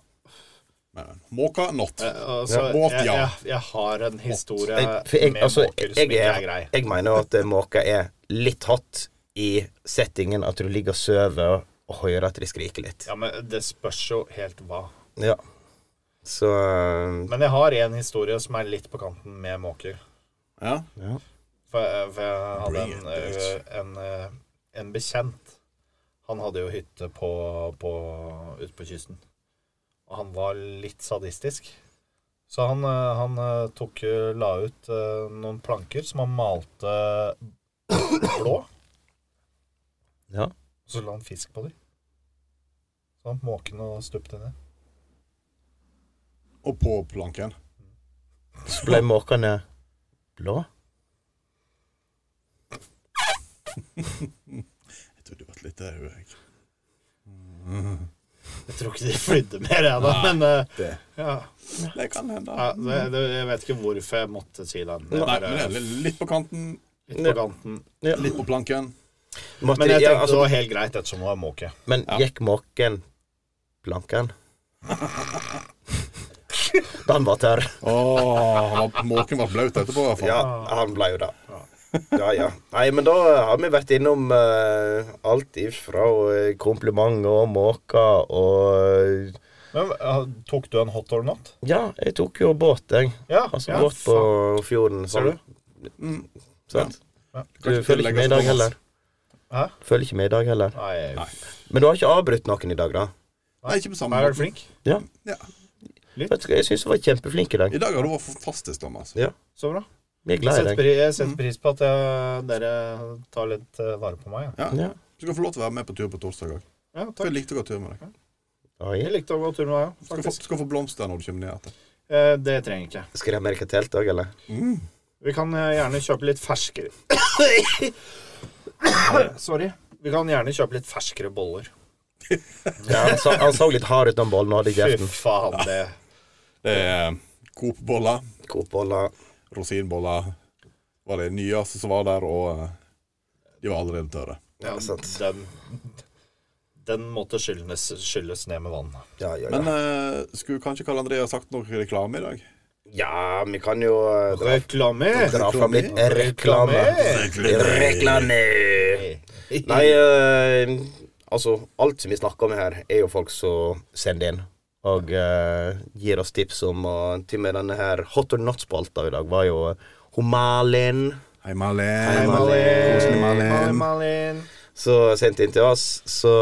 Speaker 5: men, Måka not.
Speaker 3: Eh, Altså,
Speaker 5: Ja, båt,
Speaker 3: jeg,
Speaker 5: ja.
Speaker 3: jeg, jeg har en historie
Speaker 4: Jeg, for jeg,
Speaker 3: med
Speaker 4: altså,
Speaker 3: måker
Speaker 4: jeg,
Speaker 3: som ikke er
Speaker 4: er,
Speaker 3: grei.
Speaker 4: jeg mener jo at eh, måker er litt hot i settingen at du ligger og sover og hører at de skriker litt.
Speaker 3: Ja, men det spørs jo helt hva.
Speaker 4: Ja. Så eh,
Speaker 3: Men jeg har en historie som er litt på kanten med måker.
Speaker 5: Ja.
Speaker 3: For, jeg- for jeg hadde
Speaker 5: Bring
Speaker 3: en,
Speaker 5: it, bitch.
Speaker 3: ø, en, ø, en bekjent. Han hadde jo hytte på, på, ute på kysten. Og han var litt sadistisk. Så han, ø, han ø, tok, ø, la ut ø, noen planker som han malte blå.
Speaker 4: Ja.
Speaker 3: Og så la han fisk på dem. Så han måken og stupte ned.
Speaker 5: Og på planken.
Speaker 4: Så ble måkene blå.
Speaker 5: Jeg trodde det var et lite øyeblikk.
Speaker 3: Jeg tror ikke de flydde mer, jeg da. Men eh, ø,
Speaker 5: Det.
Speaker 3: ja.
Speaker 5: det kan hende.
Speaker 3: Ja, det, det, jeg vet ikke hvorfor jeg måtte si den. Det
Speaker 5: Nei,
Speaker 3: var
Speaker 5: men det er li- litt på kanten,
Speaker 3: litt på kanten.
Speaker 5: litt på planken.
Speaker 4: Måtte,
Speaker 3: Men jeg
Speaker 4: ja,
Speaker 3: tenkte det
Speaker 4: altså,
Speaker 3: var helt greit ettersom det var måke.
Speaker 4: men gikk måken blanken? Da han var tørr.
Speaker 5: Åh, han var- Måken ble blaut etterpå, i hvert fall.
Speaker 4: Ja, han ble jo det. Ja, ja. Nei, men da har vi vært innom eh, alt ifra eh, kompliment og måker og
Speaker 3: Men eh, tok du en hot or not?
Speaker 4: Ja, jeg tok jo båt, jeg.
Speaker 3: Ja,
Speaker 4: Altså
Speaker 3: ja,
Speaker 4: båt på
Speaker 3: faen.
Speaker 4: fjorden.
Speaker 3: Ser
Speaker 4: Sånn.
Speaker 3: du?
Speaker 4: Sant?
Speaker 3: Ja.
Speaker 4: Du
Speaker 5: Kan ikke
Speaker 4: følger ikke med i
Speaker 5: tillegges
Speaker 4: dag
Speaker 5: Thomas.
Speaker 4: heller.
Speaker 3: Hæ?
Speaker 4: Følger ikke med i dag heller.
Speaker 3: Nei,
Speaker 5: Nei.
Speaker 4: Men du har ikke avbrutt noen i dag, da?
Speaker 5: Nei, ikke på samme
Speaker 3: er du
Speaker 5: måte.
Speaker 3: flink?
Speaker 4: Ja.
Speaker 5: Ja.
Speaker 4: Vet du hva, Jeg syns du var kjempeflink i dag.
Speaker 5: I dag har du vært fantastisk, Thomas.
Speaker 4: Ja.
Speaker 3: Så bra.
Speaker 4: Vi er
Speaker 3: Jeg
Speaker 4: glad i
Speaker 3: setter
Speaker 4: deg. Mm.
Speaker 3: pri- jeg setter pris på at jeg, dere tar litt eh, vare på meg. Ja.
Speaker 5: Ja.
Speaker 4: Ja.
Speaker 5: Du skal få lov til å være med på tur på torsdag òg.
Speaker 3: Ja,
Speaker 5: Jeg
Speaker 3: takk.
Speaker 5: likte å gå tur med deg.
Speaker 4: Oi.
Speaker 3: Jeg likte å gå tur med deg, ja,
Speaker 5: Skal få,
Speaker 3: faktisk.
Speaker 5: skal få blomster når du kommer ned etter.
Speaker 3: Eh, det trenger jeg ikke.
Speaker 4: Skal jeg ha merke telt òg, eller?
Speaker 3: Vi kan eh, gjerne kjøpe litt ferskere Sorry. Vi kan gjerne kjøpe litt ferskere boller.
Speaker 4: Ja, han, så, han så litt hard ut den bollen og hadde i
Speaker 3: Fy
Speaker 4: kjeften.
Speaker 3: faen, det
Speaker 5: Det er Coop-boller,
Speaker 4: Coop-boller.
Speaker 5: rosinboller Var det nyeste som var der, og eh, de var allerede tørre.
Speaker 3: ja,
Speaker 4: sant.
Speaker 3: den, den måtte skylles, skylles ned med vann.
Speaker 4: Ja, ja, ja.
Speaker 5: Men eh, skulle kanskje Karl André ha sagt noe reklame i dag?
Speaker 4: ja, vi kan jo eh, dra,
Speaker 3: Reklame!
Speaker 4: dra fram litt reklame. Reklame! Nei, eh, altså Alt som vi snakker om her, er jo folk som sender inn. Og eh, gir oss tips om Og til og med denne her Hot or not-spalta i dag var jo eh, Homalin.
Speaker 5: Hei, Malin.
Speaker 4: Hei, Malin.
Speaker 5: Koselig,
Speaker 3: Malin,
Speaker 5: Malin.
Speaker 3: Malin.
Speaker 4: Så sendt inn til oss. Så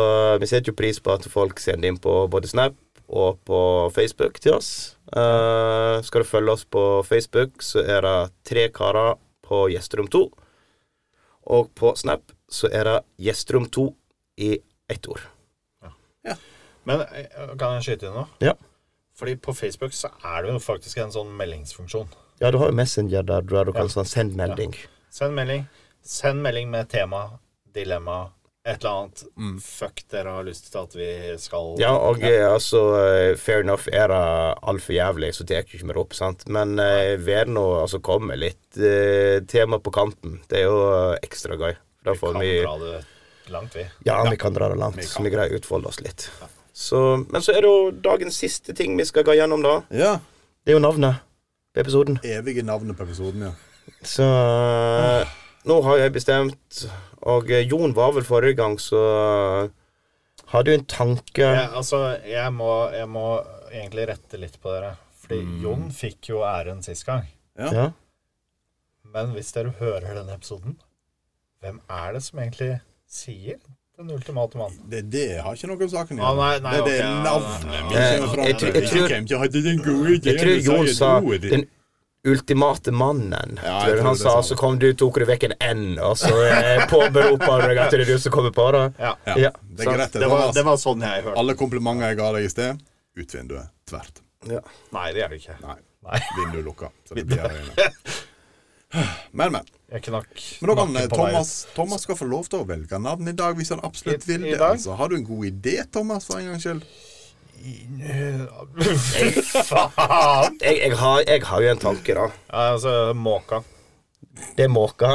Speaker 4: vi setter jo pris på at folk sender inn på både Snap og på Facebook til oss. Eh, skal du følge oss på Facebook, så er det tre karer på Gjesterom 2. Og på Snap så er det Gjesterom 2 i ett ord.
Speaker 3: Men eh, kan jeg skyte inn noe?
Speaker 4: Ja.
Speaker 3: Fordi på Facebook så er det jo faktisk en sånn meldingsfunksjon.
Speaker 4: Ja, du har jo Messenger der du, er, du kan
Speaker 3: Ja.
Speaker 4: sånn send melding.
Speaker 3: Send melding. Send melding med tema, dilemma, et eller annet. Fuck, dere har lyst til at vi skal
Speaker 4: Mm. Ja, og eh, altså eh, Fair enough er det altfor jævlig, så tar jeg ikke mer opp, sant. Men eh, vær nå altså komme med litt eh, tema på kanten. Det er jo eh, ekstra gøy. Da
Speaker 3: Vi
Speaker 4: får
Speaker 3: kan
Speaker 4: vi
Speaker 3: dra det langt, vi.
Speaker 4: Ja, vi kan dra det langt, så vi greier å utfolde oss litt. Så, men så er det jo dagens siste ting vi skal gå gjennom, da.
Speaker 5: Ja.
Speaker 4: Det er jo navnet på episoden.
Speaker 5: Evige navnet på episoden, ja.
Speaker 4: Så eh, nå har jeg bestemt, og eh, Jon var vel forrige gang, så eh, hadde jo en tanke
Speaker 3: Jeg, altså, jeg må, jeg må egentlig rette litt på dere. Fordi
Speaker 4: Mm.
Speaker 3: Jon fikk jo æren sist gang.
Speaker 4: ja.
Speaker 3: Men hvis dere hører denne episoden, hvem er det som egentlig sier den ultimate mannen?
Speaker 5: Det, det har ikke noe om saken å
Speaker 3: Ah, nei,
Speaker 5: gjøre.
Speaker 3: nei,
Speaker 5: Det, det er
Speaker 3: ok, ja,
Speaker 5: navnet vi
Speaker 4: ja,
Speaker 5: kommer
Speaker 4: ja.
Speaker 5: fram
Speaker 4: Jeg tror- jeg
Speaker 5: Vi
Speaker 4: tror-
Speaker 5: kommer ikke hadde den gode ideen.
Speaker 4: Jeg tror
Speaker 5: å si
Speaker 4: Jon
Speaker 5: et
Speaker 4: sa
Speaker 5: ord.
Speaker 4: 'den ultimate mannen'.
Speaker 5: Ja, jeg
Speaker 4: tror jeg
Speaker 5: tror
Speaker 4: han
Speaker 5: det
Speaker 4: sa,
Speaker 5: sa han.
Speaker 4: så kom du, tok du vekk en N, og så eh, påberopa du deg at det er du som kommer på det.
Speaker 3: Ja.
Speaker 5: Ja,
Speaker 4: Ja,
Speaker 5: det
Speaker 4: sant.
Speaker 5: er greit. Det, altså-
Speaker 3: Det var,
Speaker 5: Thomas.
Speaker 3: det var sånn jeg hørte.
Speaker 5: Alle komplimenter jeg ga deg i sted, ut vinduet. Tvert.
Speaker 4: Ja.
Speaker 3: Nei, det er det ikke.
Speaker 5: Nei.
Speaker 3: Nei.
Speaker 5: Vinduet lukka. Så det blir her inne. Men, men.
Speaker 3: Jeg knakk
Speaker 5: Men da
Speaker 3: nakken
Speaker 5: kan
Speaker 3: på vei ut.
Speaker 5: Thomas, Thomas skal få lov til å velge navn i dag, hvis han absolutt
Speaker 3: I-
Speaker 5: vil
Speaker 3: i
Speaker 5: det.
Speaker 3: dag?
Speaker 5: Altså, har du en god idé, Thomas, for en gangs skyld?
Speaker 3: Faen!
Speaker 4: Jeg, jeg, har, jeg har jo en tanke, da.
Speaker 3: Altså, måka.
Speaker 4: Det er måka.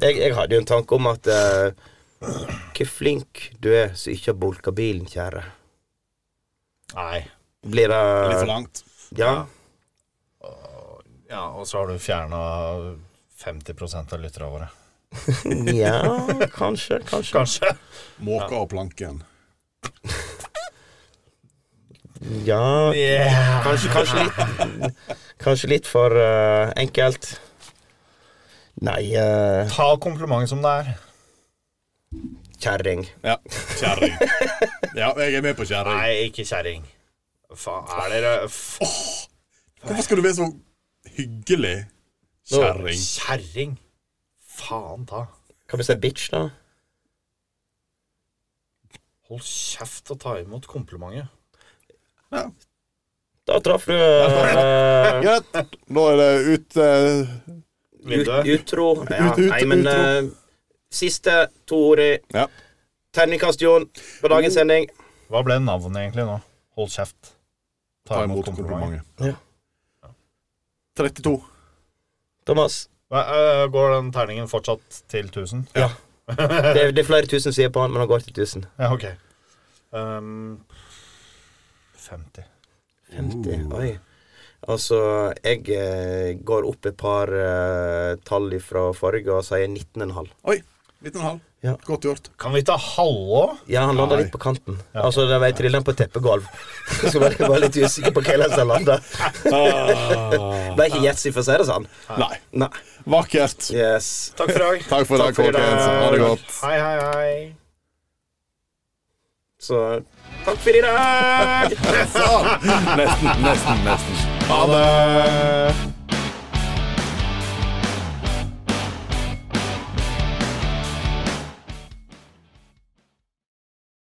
Speaker 4: Jeg, jeg hadde jo en tanke om at eh, Hvor flink du er som ikke har bulka bilen, kjære.
Speaker 3: Nei.
Speaker 4: Blir
Speaker 5: Litt
Speaker 4: det
Speaker 5: for langt.
Speaker 4: Ja.
Speaker 3: Ja, og så har du fjerna 50 av lytterne våre.
Speaker 4: Nja, kanskje, kanskje.
Speaker 3: Kanskje.
Speaker 5: Måka og planken.
Speaker 4: Ja,
Speaker 3: Yeah.
Speaker 4: kanskje, kanskje litt Kanskje litt for eh, enkelt. Nei, eh,
Speaker 3: Ta komplimentet som det er.
Speaker 4: kjerring.
Speaker 5: Ja. Kjerring. Ja, jeg er med på kjerring.
Speaker 3: Nei, ikke kjerring. Faen, er dere f-
Speaker 5: Hvorfor skal du være så hyggelig?
Speaker 4: Nå-
Speaker 5: Kjerring.
Speaker 3: Kjerring? Faen ta.
Speaker 4: Kan vi si bitch, da?
Speaker 3: Hold kjeft og ta imot komplimentet.
Speaker 4: Da traff du eh,
Speaker 5: Greit. Nå er det ut eh,
Speaker 4: ut,
Speaker 3: Vinduet.
Speaker 4: utro. Ja,
Speaker 5: Ut- ut-
Speaker 4: nei, men
Speaker 5: utro.
Speaker 4: eh, Siste to ord i
Speaker 5: Ja.
Speaker 4: terningkast, Jon, på dagens sending.
Speaker 3: Hva ble navnet egentlig nå? Hold kjeft.
Speaker 5: Ta imot komplimentet.
Speaker 4: Ja.
Speaker 5: 32.
Speaker 4: Thomas.
Speaker 3: Hva, øh, går den terningen fortsatt til 1000?
Speaker 4: Ja. Det, er- det er flere tusen sider på han, men han går til 1000.
Speaker 3: Ja, ok. Ehm, 50.
Speaker 4: 50. Oh. Oi. Altså, jeg eh, går opp et par eh, tall fra forrige og sier 19,5.
Speaker 5: Oi! 19,5.
Speaker 4: Ja.
Speaker 5: Godt gjort.
Speaker 3: Kan vi ta halve òg?
Speaker 4: Ja, han landa
Speaker 5: Nei.
Speaker 4: litt på kanten. Altså, det var jeg trilla på et teppegulv. Så var jeg bare litt usikker på hvordan han landa.
Speaker 3: Ah.
Speaker 4: Ble ikke yatzy, for å si det sånn.
Speaker 5: Nei.
Speaker 4: Nei.
Speaker 5: Vakkert.
Speaker 4: Yes.
Speaker 3: Takk for i dag.
Speaker 5: Takk for i dag, folkens. Ha det godt.
Speaker 3: Hei, hei, hei.
Speaker 4: Så takk for i dag!
Speaker 5: Nesten, nesten, nesten.
Speaker 3: Ha det.